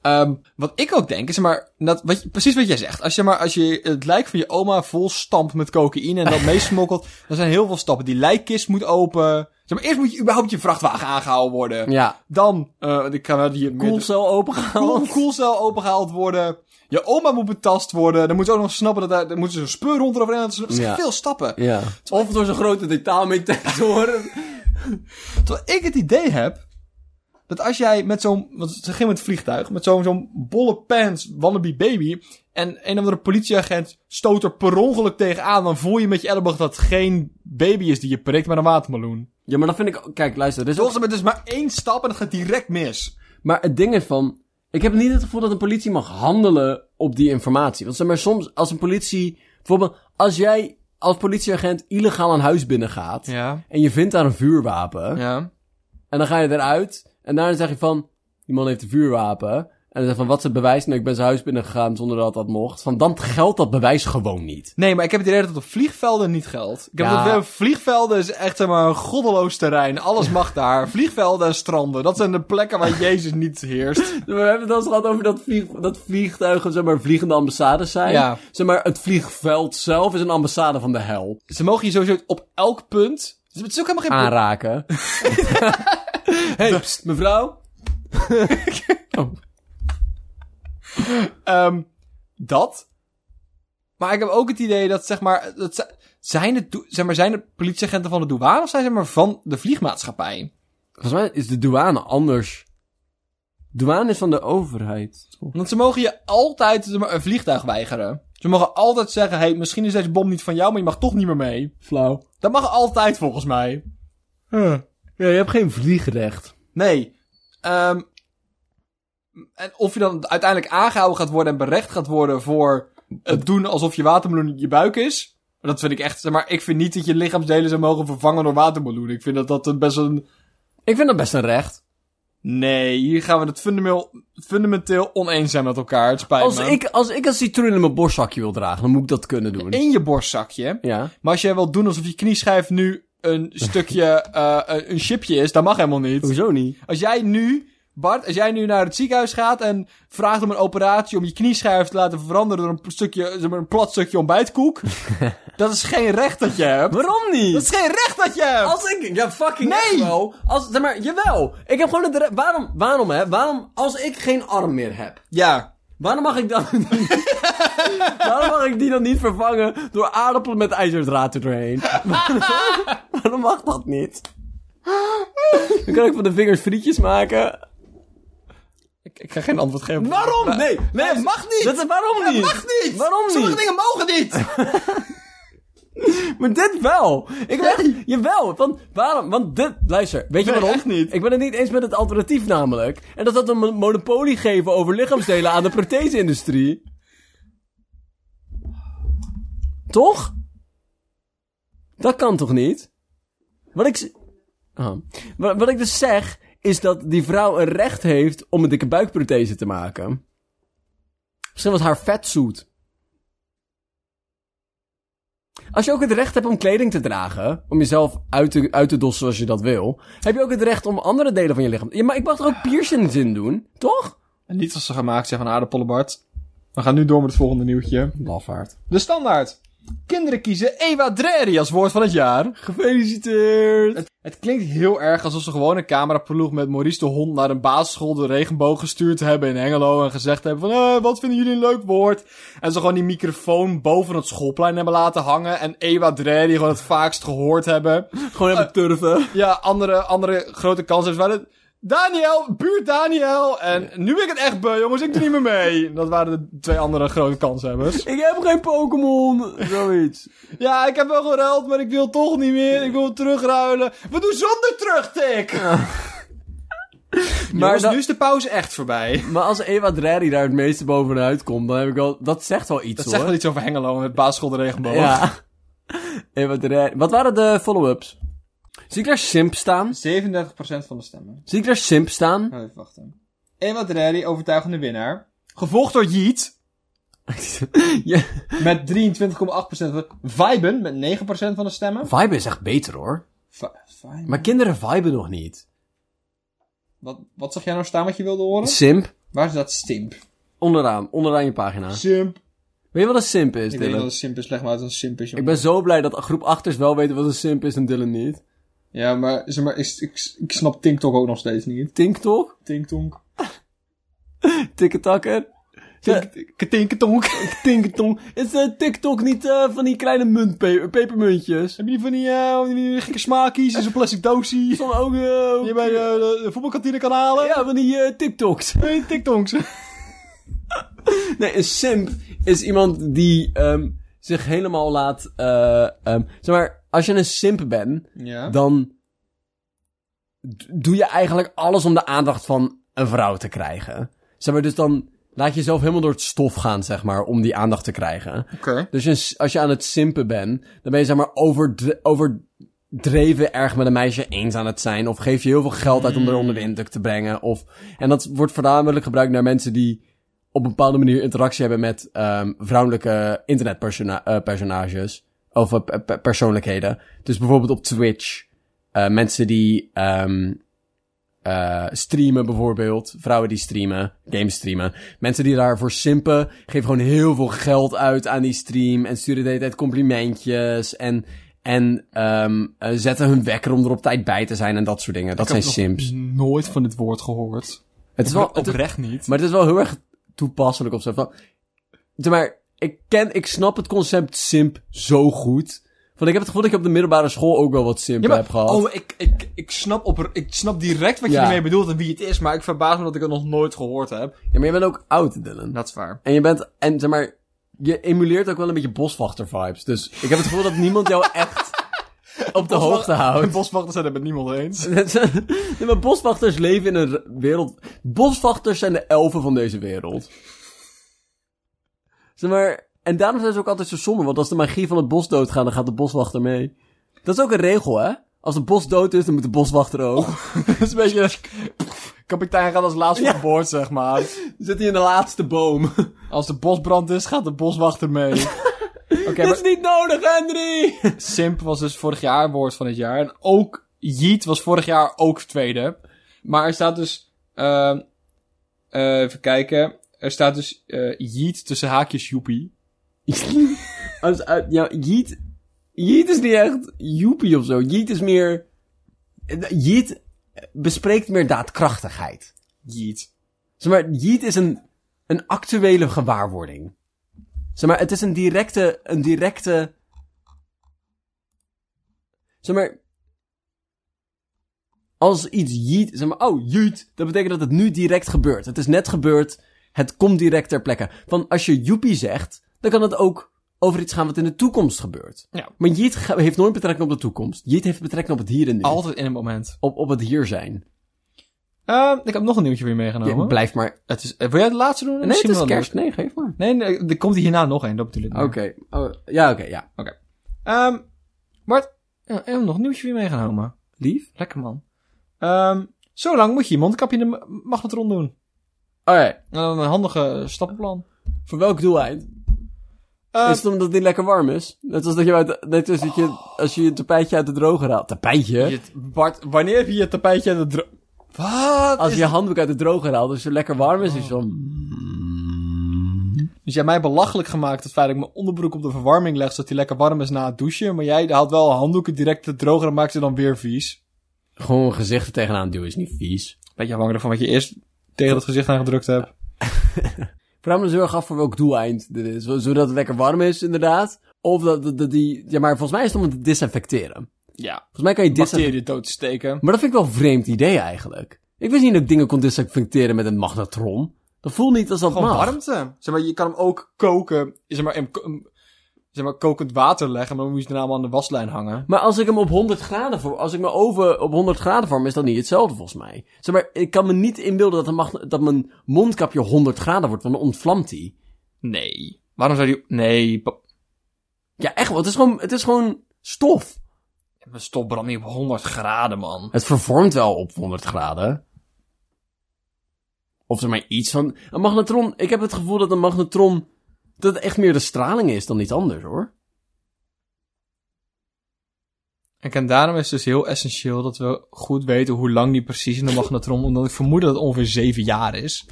[SPEAKER 1] Ehm, wat ik ook denk, is maar, dat, wat, je- precies wat jij zegt. Als je maar, als je het lijk van je oma vol stampt met cocaïne en dat meesmokkelt, dan zijn heel veel stappen. Die lijkkist moet open. Zeg maar, eerst moet je überhaupt je vrachtwagen aangehouden worden.
[SPEAKER 2] Ja.
[SPEAKER 1] Dan, eh, ik kan wel die
[SPEAKER 2] Koelcel
[SPEAKER 1] koel-
[SPEAKER 2] opengehaald.
[SPEAKER 1] koelcel opengehaald worden. Je oma moet betast worden. Dan moet ze ook nog snappen dat daar, dan moeten ze een speur rond eroverheen. Dat zijn dat zijn
[SPEAKER 2] Ja.
[SPEAKER 1] veel stappen.
[SPEAKER 2] Ja. Of door zo'n grote detaalmetator.
[SPEAKER 1] Terwijl ik het idee heb dat als jij met zo'n, want ze ging met het vliegtuig, met zo'n zo'n bolle pants wannabe baby en een of andere politieagent stoot er per ongeluk tegenaan, dan voel je met je elleboog dat het geen baby is die je prikt, maar een watermeloen.
[SPEAKER 2] ja, maar dat vind ik... Kijk, luister. Er is ook-
[SPEAKER 1] Volgens mij dus maar één stap en het gaat direct mis.
[SPEAKER 2] Maar het ding is van... Ik heb niet het gevoel dat een politie mag handelen op die informatie. Want zeg maar soms als een politie... Bijvoorbeeld als jij als politieagent illegaal een huis binnengaat...
[SPEAKER 1] Ja.
[SPEAKER 2] En je vindt daar een vuurwapen.
[SPEAKER 1] Ja.
[SPEAKER 2] En dan ga je eruit. En daarna zeg je van... Die man heeft een vuurwapen. En dan zeg je van... Wat is het bewijs? Nou, ik ben zijn huis binnengegaan zonder dat dat mocht. Van dan geldt dat bewijs gewoon niet.
[SPEAKER 1] Nee, maar ik heb het idee dat het op vliegvelden niet geldt. Ik heb
[SPEAKER 2] Ja.
[SPEAKER 1] het idee, vliegvelden is echt zeg maar, een goddeloos terrein. Alles mag daar. Vliegvelden en stranden, dat zijn de plekken waar Jezus niet heerst.
[SPEAKER 2] We hebben het al eens gehad over dat, vlieg, dat vliegtuigen... Zeg maar vliegende ambassades zijn.
[SPEAKER 1] Ja.
[SPEAKER 2] Zeg maar het vliegveld zelf is een ambassade van de hel.
[SPEAKER 1] Ze mogen je sowieso op elk punt. Het is ook helemaal geen
[SPEAKER 2] Aanraken. hey, pst, mevrouw.
[SPEAKER 1] Ehm, dat. Maar ik heb ook het idee dat, zeg maar, dat ze- zijn, het, doe- zeg maar zijn het politieagenten van de douane of zijn ze maar van de vliegmaatschappij?
[SPEAKER 2] Volgens mij is de douane anders. Douane is van de overheid. toch?
[SPEAKER 1] Want ze mogen je altijd zeg maar, een vliegtuig weigeren. Ze mogen altijd zeggen, hey, misschien is deze bom niet van jou, maar je mag toch niet meer mee.
[SPEAKER 2] Flauw.
[SPEAKER 1] Dat mag altijd volgens mij.
[SPEAKER 2] Ja, je hebt geen vliegrecht.
[SPEAKER 1] Nee. Ehm, en of je dan uiteindelijk aangehouden gaat worden en berecht gaat worden voor het doen alsof je watermeloen je buik is. Dat vind ik echt, zeg maar ik vind niet dat je lichaamsdelen zou mogen vervangen door watermeloen. Ik vind dat dat een best een...
[SPEAKER 2] Ik vind dat best een recht.
[SPEAKER 1] Nee, hier gaan we het fundamenteel, fundamenteel oneens zijn met elkaar. Het spijt
[SPEAKER 2] Als
[SPEAKER 1] me.
[SPEAKER 2] ik, als ik een citroen in mijn borstzakje wil dragen, dan moet ik dat kunnen doen.
[SPEAKER 1] In je borstzakje.
[SPEAKER 2] Ja.
[SPEAKER 1] Maar als jij wil doen alsof je knieschijf nu een stukje, eh, een- een chipje is, dat mag helemaal niet.
[SPEAKER 2] Hoezo niet?
[SPEAKER 1] Als jij nu, Bart, als jij nu naar het ziekenhuis gaat en vraagt om een operatie om je knieschijf te laten veranderen door een stukje, zeg maar een plat stukje ontbijtkoek. dat is geen recht dat je hebt.
[SPEAKER 2] Waarom niet?
[SPEAKER 1] Dat is geen recht dat je hebt!
[SPEAKER 2] Als ik... Ja, fucking
[SPEAKER 1] Nee!
[SPEAKER 2] echt wel. Als, zeg maar, jawel. Ik heb gewoon het recht... Waarom, waarom, hè? Waarom, als ik geen arm meer heb?
[SPEAKER 1] Ja.
[SPEAKER 2] Waarom mag ik dan... Waarom mag ik die dan niet vervangen door aardappelen met ijzerdraad er doorheen? Waarom mag dat niet? Dan kan ik van de vingers frietjes maken.
[SPEAKER 1] Ik, ik ga geen antwoord geven.
[SPEAKER 4] Waarom? Nee, nee, het mag niet.
[SPEAKER 2] Dat, waarom niet?
[SPEAKER 4] Het mag niet.
[SPEAKER 2] Waarom niet?
[SPEAKER 4] Sommige dingen mogen niet.
[SPEAKER 2] Maar dit wel. Ik ben echt, jawel. Want waarom? Want dit, luister, weet je
[SPEAKER 4] Nee,
[SPEAKER 2] waarom?
[SPEAKER 4] echt niet.
[SPEAKER 2] Ik ben het niet eens met het alternatief namelijk. En dat dat een mon- monopolie geven over lichaamsdelen aan de prothese-industrie. Toch? Dat kan toch niet? Wat ik, z- ah. wat, wat ik dus zeg, is dat die vrouw een recht heeft om een dikke buikprothese te maken. Misschien was haar vet zoet. Als je ook het recht hebt om kleding te dragen, om jezelf uit te, uit te dossen zoals je dat wil, heb je ook het recht om andere delen van je lichaam. Ja, maar ik mag toch ook piercings in doen, toch?
[SPEAKER 1] En niet als ze gemaakt zijn van aardappelen, Bart. We gaan nu door met het volgende nieuwtje.
[SPEAKER 2] Lafaard.
[SPEAKER 1] De standaard. Kinderen kiezen Eva Dreri als woord van het jaar.
[SPEAKER 2] Gefeliciteerd!
[SPEAKER 1] Het, het klinkt heel erg alsof ze gewoon een cameraploeg met Maurice de Hond naar een basisschool de regenboog gestuurd hebben in Engelo. En gezegd hebben van, eh, wat vinden jullie een leuk woord? En ze gewoon die microfoon boven het schoolplein hebben laten hangen. En Eva Dreri gewoon het vaakst gehoord hebben.
[SPEAKER 2] Gewoon even turven.
[SPEAKER 1] Ja, andere, andere grote kansen waren het. Daniel, buurt Daniel. En nu ben ik het echt beu, jongens, ik doe niet meer mee. Dat waren de twee andere grote kanshebbers.
[SPEAKER 2] Ik heb geen Pokémon! Zoiets.
[SPEAKER 1] Ja, ik heb wel geruild, maar ik wil toch niet meer. Ik wil terugruilen. We doen zonder terugtik. Maar
[SPEAKER 2] dat-
[SPEAKER 1] nu is de pauze echt voorbij.
[SPEAKER 2] Maar als Eva Dreri daar het meeste bovenuit komt, dan heb ik wel... Dat zegt wel iets,
[SPEAKER 1] Dat
[SPEAKER 2] hoor.
[SPEAKER 1] zegt wel iets over Hengelo met basisschool de regenboog.
[SPEAKER 2] Ja. Eva Dreri. Wat waren de follow-ups? Zie ik daar Simp staan?
[SPEAKER 1] 37% van de stemmen. Nou,
[SPEAKER 2] Zie ik daar Simp staan?
[SPEAKER 1] Even wachten. Emma Dreri, overtuigende winnaar. Gevolgd door Yeet.
[SPEAKER 2] Ja.
[SPEAKER 1] Met 23,8% van... Viben met 9% van de stemmen.
[SPEAKER 2] Vibe is echt beter, hoor.
[SPEAKER 1] Va- Viben?
[SPEAKER 2] Maar kinderen viben nog niet.
[SPEAKER 1] Wat, wat zag jij nou staan wat je wilde horen?
[SPEAKER 2] Simp?
[SPEAKER 1] Waar is dat simp?
[SPEAKER 2] Onderaan, onderaan je pagina.
[SPEAKER 1] Simp.
[SPEAKER 2] Weet je wat een simp is,
[SPEAKER 1] Ik weet niet
[SPEAKER 2] Dylan?
[SPEAKER 1] wat een simp is, leg maar uit wat een simp is.
[SPEAKER 2] Ik
[SPEAKER 1] jongen.
[SPEAKER 2] ben zo blij dat groep achters wel weten wat een simp is en Dylan niet.
[SPEAKER 1] Ja, maar, zeg maar ik, ik, ik snap TikTok ook nog steeds niet.
[SPEAKER 2] Tinktok?
[SPEAKER 1] TikTok.
[SPEAKER 2] Tikketakker?
[SPEAKER 1] Tinketonk.
[SPEAKER 2] Tinketong. Is eh, TikTok niet eh, van die kleine muntpe- pepermuntjes?
[SPEAKER 1] Heb je die van die, eh, die, die gekke smaakjes in zo'n plastic doosje?
[SPEAKER 2] Van ook... eh,
[SPEAKER 1] Die je bij de, de- de voetbalkantine kan halen?
[SPEAKER 2] ja, van die eh, TikToks.
[SPEAKER 1] Nee, TikToks.
[SPEAKER 2] Nee, een simp is iemand die ehm, zich helemaal laat... eh, ehm, zeg maar, als je een simp bent,
[SPEAKER 1] Ja.
[SPEAKER 2] dan d- doe je eigenlijk alles om de aandacht van een vrouw te krijgen. Zeg maar, dus dan laat je jezelf helemaal door het stof gaan, zeg maar, om die aandacht te krijgen.
[SPEAKER 1] Oké.
[SPEAKER 2] Dus een s- als je aan het simpen bent, dan ben je zeg maar overdre- overdreven erg met een meisje eens aan het zijn. Of geef je heel veel geld uit om er onder de indruk te brengen. Of, en dat wordt voornamelijk gebruikt naar mensen die op een bepaalde manier interactie hebben met ehm, vrouwelijke internetpersonages. Of eh, pe- pe- persoonlijkheden. Dus bijvoorbeeld op Twitch. eh, mensen die ehm, eh, streamen bijvoorbeeld. Vrouwen die streamen, games streamen. Mensen die daarvoor simpen, geven gewoon heel veel geld uit aan die stream. En sturen de hele tijd complimentjes. En, en ehm, eh, zetten hun wekker om er op tijd bij te zijn en dat soort dingen. Dat zijn simps.
[SPEAKER 1] Nooit van dit woord gehoord.
[SPEAKER 2] Het is wel, het is-
[SPEAKER 1] Oprecht niet.
[SPEAKER 2] maar het is wel heel erg toepasselijk op zo. Van, zeg maar, ik ken, ik snap het concept simp zo goed. Want ik heb het gevoel dat ik op de middelbare school ook wel wat simp heb gehad.
[SPEAKER 1] oh, ik, ik, ik, snap op, ik snap direct wat je
[SPEAKER 2] Ja.
[SPEAKER 1] ermee bedoelt en wie het is, maar ik verbaas me dat ik het nog nooit gehoord heb.
[SPEAKER 2] Ja, maar je bent ook oud, Dylan.
[SPEAKER 1] Dat is waar.
[SPEAKER 2] En je bent, en zeg maar, je emuleert ook wel een beetje boswachter vibes. Dus ik heb het gevoel dat niemand jou echt op de hoogte houdt.
[SPEAKER 1] Boswachters zijn Oh, het met niemand eens.
[SPEAKER 2] nee, maar boswachters leven in een r- wereld. Boswachters zijn de elfen van deze wereld. Zeg maar, en daarom zijn ze ook altijd zo somber, want als de magie van het bos doodgaat, dan gaat de boswachter mee. Dat is ook een regel, hè? Als de bos dood is, dan moet de boswachter ook.
[SPEAKER 1] Dat is een beetje... Kapitein gaat als laatste
[SPEAKER 2] Ja.
[SPEAKER 1] op boord, zeg maar.
[SPEAKER 2] Dan zit hij in de laatste boom.
[SPEAKER 1] Als de bosbrand is, gaat de boswachter mee. Oké,
[SPEAKER 2] Dit
[SPEAKER 1] maar
[SPEAKER 2] is niet nodig, Henry!
[SPEAKER 1] Simp was dus vorig jaar woord van het jaar. En ook Yeet was vorig jaar ook tweede. Maar er staat dus... ehm, eh, even kijken. Er staat dus eh Yeet tussen haakjes joepie.
[SPEAKER 2] Als uit, ja, Yeet, Yeet is niet echt joepie of zo. Yeet is meer... eh, Yeet bespreekt meer daadkrachtigheid.
[SPEAKER 1] Yeet.
[SPEAKER 2] Zeg maar, Yeet is een, een actuele gewaarwording. Zeg maar, het is een directe, een directe... Zeg maar... Als iets jeet, zeg maar, oh, jeet, dat betekent dat het nu direct gebeurt. Het is net gebeurd, het komt direct ter plekke. Van als je joepie zegt, dan kan het ook over iets gaan wat in de toekomst gebeurt.
[SPEAKER 1] Ja.
[SPEAKER 2] Maar jeet ga- heeft nooit betrekking op de toekomst. Jeet heeft betrekking op het hier en nu.
[SPEAKER 1] Altijd in een moment.
[SPEAKER 2] Op, op het hier zijn.
[SPEAKER 1] Ehm, ik heb nog een nieuwtje weer
[SPEAKER 2] Je
[SPEAKER 1] meegenomen.
[SPEAKER 2] blijft maar...
[SPEAKER 1] het is, eh, wil jij het laatste doen?
[SPEAKER 2] Nee, het
[SPEAKER 1] Oh. Misschien
[SPEAKER 2] is
[SPEAKER 1] wel
[SPEAKER 2] kerst.
[SPEAKER 1] leuk.
[SPEAKER 2] Nee, geef maar.
[SPEAKER 1] Nee, nee, er komt hierna nog een, dat bedoel ik.
[SPEAKER 2] Oké. Oh, ja, oké, ja.
[SPEAKER 1] Ehm Bart, ja, ik heb nog een nieuwtje weer meegenomen.
[SPEAKER 2] Lief?
[SPEAKER 1] Lekker man. Ehm zo lang moet je je mondkapje in de ma- magnetron doen.
[SPEAKER 2] Oké.
[SPEAKER 1] Nou, Een handige stappenplan.
[SPEAKER 2] Voor welk doeleind?
[SPEAKER 1] Eh,
[SPEAKER 2] is het omdat die lekker warm is? Net als dat je, uit, net als dat je als je je tapijtje uit de droger haalt. Tapijtje?
[SPEAKER 1] je- Bart, wanneer heb je je tapijtje aan de dro... Wat?
[SPEAKER 2] Als
[SPEAKER 1] is-
[SPEAKER 2] je je handdoek uit de droger haalt, als het lekker warm is, is het zo...
[SPEAKER 1] Dus jij hebt mij belachelijk gemaakt het feit dat ik mijn onderbroek op de verwarming leg, zodat die lekker warm is na het douchen. Maar jij haalt wel handdoeken direct te droger en maakt ze dan weer vies.
[SPEAKER 2] Gewoon gezichten tegenaan duwen is niet vies.
[SPEAKER 1] Beetje afhankelijk van wat je eerst tegen het gezicht aangedrukt hebt.
[SPEAKER 2] Ik vraag me dus heel erg af voor welk doeleind dit is. Zo- Zodat het lekker warm is, inderdaad. Of dat, dat, dat die... Ja, maar volgens mij is het om het te desinfecteren.
[SPEAKER 1] Ja,
[SPEAKER 2] Volgens mij kan je desinfecteren...
[SPEAKER 1] bacteriën dood te steken.
[SPEAKER 2] Maar dat vind ik wel een vreemd idee eigenlijk. Ik wist niet dat ik dingen kon desinfecteren met een magnetron. Dat voelt niet als dat
[SPEAKER 1] Gewoon
[SPEAKER 2] mag.
[SPEAKER 1] warmte. Zeg maar, je kan hem ook koken, zeg maar, in, ko- in- zeg maar, kokend water leggen, maar dan moet je daarna allemaal aan de waslijn hangen.
[SPEAKER 2] Maar als ik hem op 100 graden voor, als ik mijn oven op 100 graden vorm, is dat niet hetzelfde volgens mij. Zeg maar, ik kan me niet inbeelden dat, een magne- dat mijn mondkapje 100 graden wordt, want dan ontvlamt hij.
[SPEAKER 1] Nee. Waarom zou die... Nee, pa-
[SPEAKER 2] Ja, echt wel. Het is gewoon, het is gewoon stof.
[SPEAKER 1] mijn stop brandt niet op 100 graden, man.
[SPEAKER 2] Het vervormt wel op 100 graden. Of er maar iets van. Een magnetron, ik heb het gevoel dat een magnetron. dat het echt meer de straling is dan iets anders hoor.
[SPEAKER 1] En en daarom is het dus heel essentieel dat we goed weten hoe lang die precies in de magnetron... omdat ik vermoed dat het ongeveer 7 jaar is.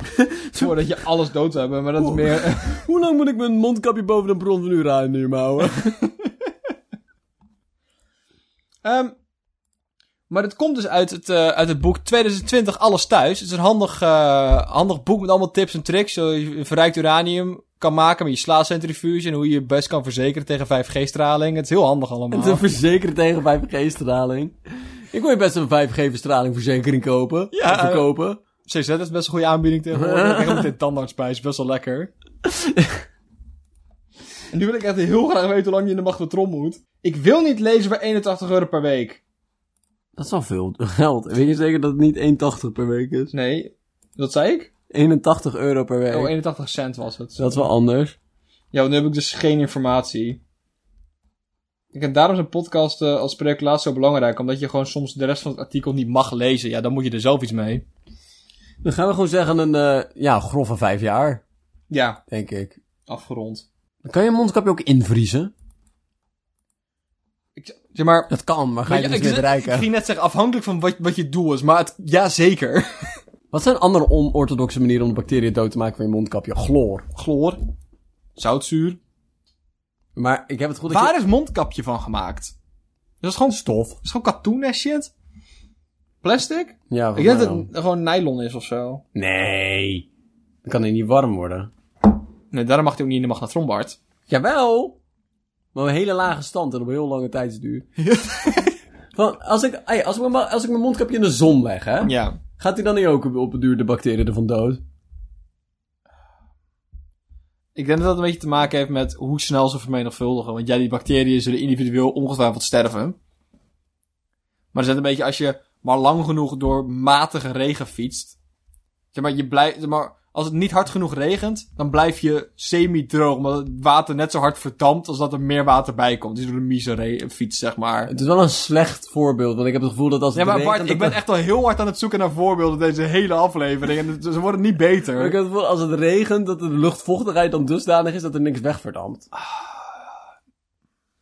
[SPEAKER 1] Voordat je alles dood zou hebben, maar dat is meer...
[SPEAKER 2] Hoe lang moet ik mijn mondkapje boven de bron van uranium houden?
[SPEAKER 1] Ehm, maar het komt dus uit het, eh, uit het boek 2020 Alles Thuis. Het is een handig, eh, handig boek met allemaal tips en tricks. Zo je verrijkt uranium kan maken met je slaascentrifuge... en hoe je je best kan verzekeren tegen 5G-straling. Het is heel handig allemaal.
[SPEAKER 2] Te verzekeren tegen 5G-straling. Ik wil je best een 5G-stralingverzekering kopen.
[SPEAKER 1] Ja,
[SPEAKER 2] Of verkopen.
[SPEAKER 1] CZ is best een goede aanbieding tegenwoordig. Ik heb ook dit tandarts bij, is best wel lekker. en nu wil ik echt heel graag weten hoe lang je in de magnetron moet. Ik wil niet lezen voor 81 euro per week.
[SPEAKER 2] Dat is al veel geld. Weet je zeker dat het niet 1,80 per week is?
[SPEAKER 1] Nee, dat zei ik?
[SPEAKER 2] 81 euro per week.
[SPEAKER 1] Oh, 81 cent was het.
[SPEAKER 2] Dat is wel anders.
[SPEAKER 1] Ja, want nu heb ik dus geen informatie. Ik heb daarom zijn podcast eh, als spreeklaat zo belangrijk. Omdat je gewoon soms de rest van het artikel niet mag lezen. Ja, dan moet je er zelf iets mee.
[SPEAKER 2] Dan gaan we gewoon zeggen een eh, ja, grove vijf jaar,
[SPEAKER 1] Ja,
[SPEAKER 2] denk ik.
[SPEAKER 1] afgerond.
[SPEAKER 2] Dan kan je mondkapje ook invriezen.
[SPEAKER 1] Ik, zeg maar,
[SPEAKER 2] Dat kan, maar ga je
[SPEAKER 1] Maar
[SPEAKER 2] dus
[SPEAKER 1] ja,
[SPEAKER 2] niet
[SPEAKER 1] ik, ik
[SPEAKER 2] bereiken.
[SPEAKER 1] ging net zeggen, afhankelijk van wat, wat je doel is. Maar het, ja, zeker.
[SPEAKER 2] Wat zijn andere onorthodoxe manieren om de bacteriën dood te maken van je mondkapje? Chloor.
[SPEAKER 1] Chloor. Zoutzuur.
[SPEAKER 2] Maar ik heb het goed... dat
[SPEAKER 1] Waar is mondkapje van gemaakt? Dat is gewoon stof. Dat is gewoon katoen en shit. Plastic?
[SPEAKER 2] je- Ja,
[SPEAKER 1] Ik
[SPEAKER 2] volgens
[SPEAKER 1] denk
[SPEAKER 2] mij
[SPEAKER 1] dat
[SPEAKER 2] wel.
[SPEAKER 1] het gewoon nylon is of zo.
[SPEAKER 2] Nee. Dan kan hij niet warm worden.
[SPEAKER 1] Nee, daarom mag hij ook niet in de magnetron, Bart.
[SPEAKER 2] Jawel. Maar een hele lage stand en op een heel lange tijdsduur. Van, als, ik, ey, als, ik mijn, ma- als ik mijn mondkapje in de zon leg, hè,
[SPEAKER 1] Ja.
[SPEAKER 2] gaat hij dan niet ook op, op een duur de bacteriën ervan dood?
[SPEAKER 1] Ik denk dat dat een beetje te maken heeft met hoe snel ze vermenigvuldigen. Want ja, die bacteriën zullen individueel ongetwijfeld sterven. Maar dat is net een beetje als je maar lang genoeg door matige regen fietst. Zeg maar, je blijft, zeg maar als het niet hard genoeg regent, dan blijf je semi-droog. Omdat het water net zo hard verdampt als dat er meer water bij komt. Dus door een mieze re- fiets, zeg maar.
[SPEAKER 2] Het is wel een slecht voorbeeld, want ik heb het gevoel dat als het
[SPEAKER 1] Ja, maar
[SPEAKER 2] regent...
[SPEAKER 1] Bart, ik
[SPEAKER 2] dat-
[SPEAKER 1] ben echt al heel hard aan het zoeken naar voorbeelden deze hele aflevering. En het- ze worden niet
[SPEAKER 2] maar ik
[SPEAKER 1] beter.
[SPEAKER 2] heb het gevoel als het regent, dat de luchtvochtigheid dan dusdanig is dat er niks wegverdampt.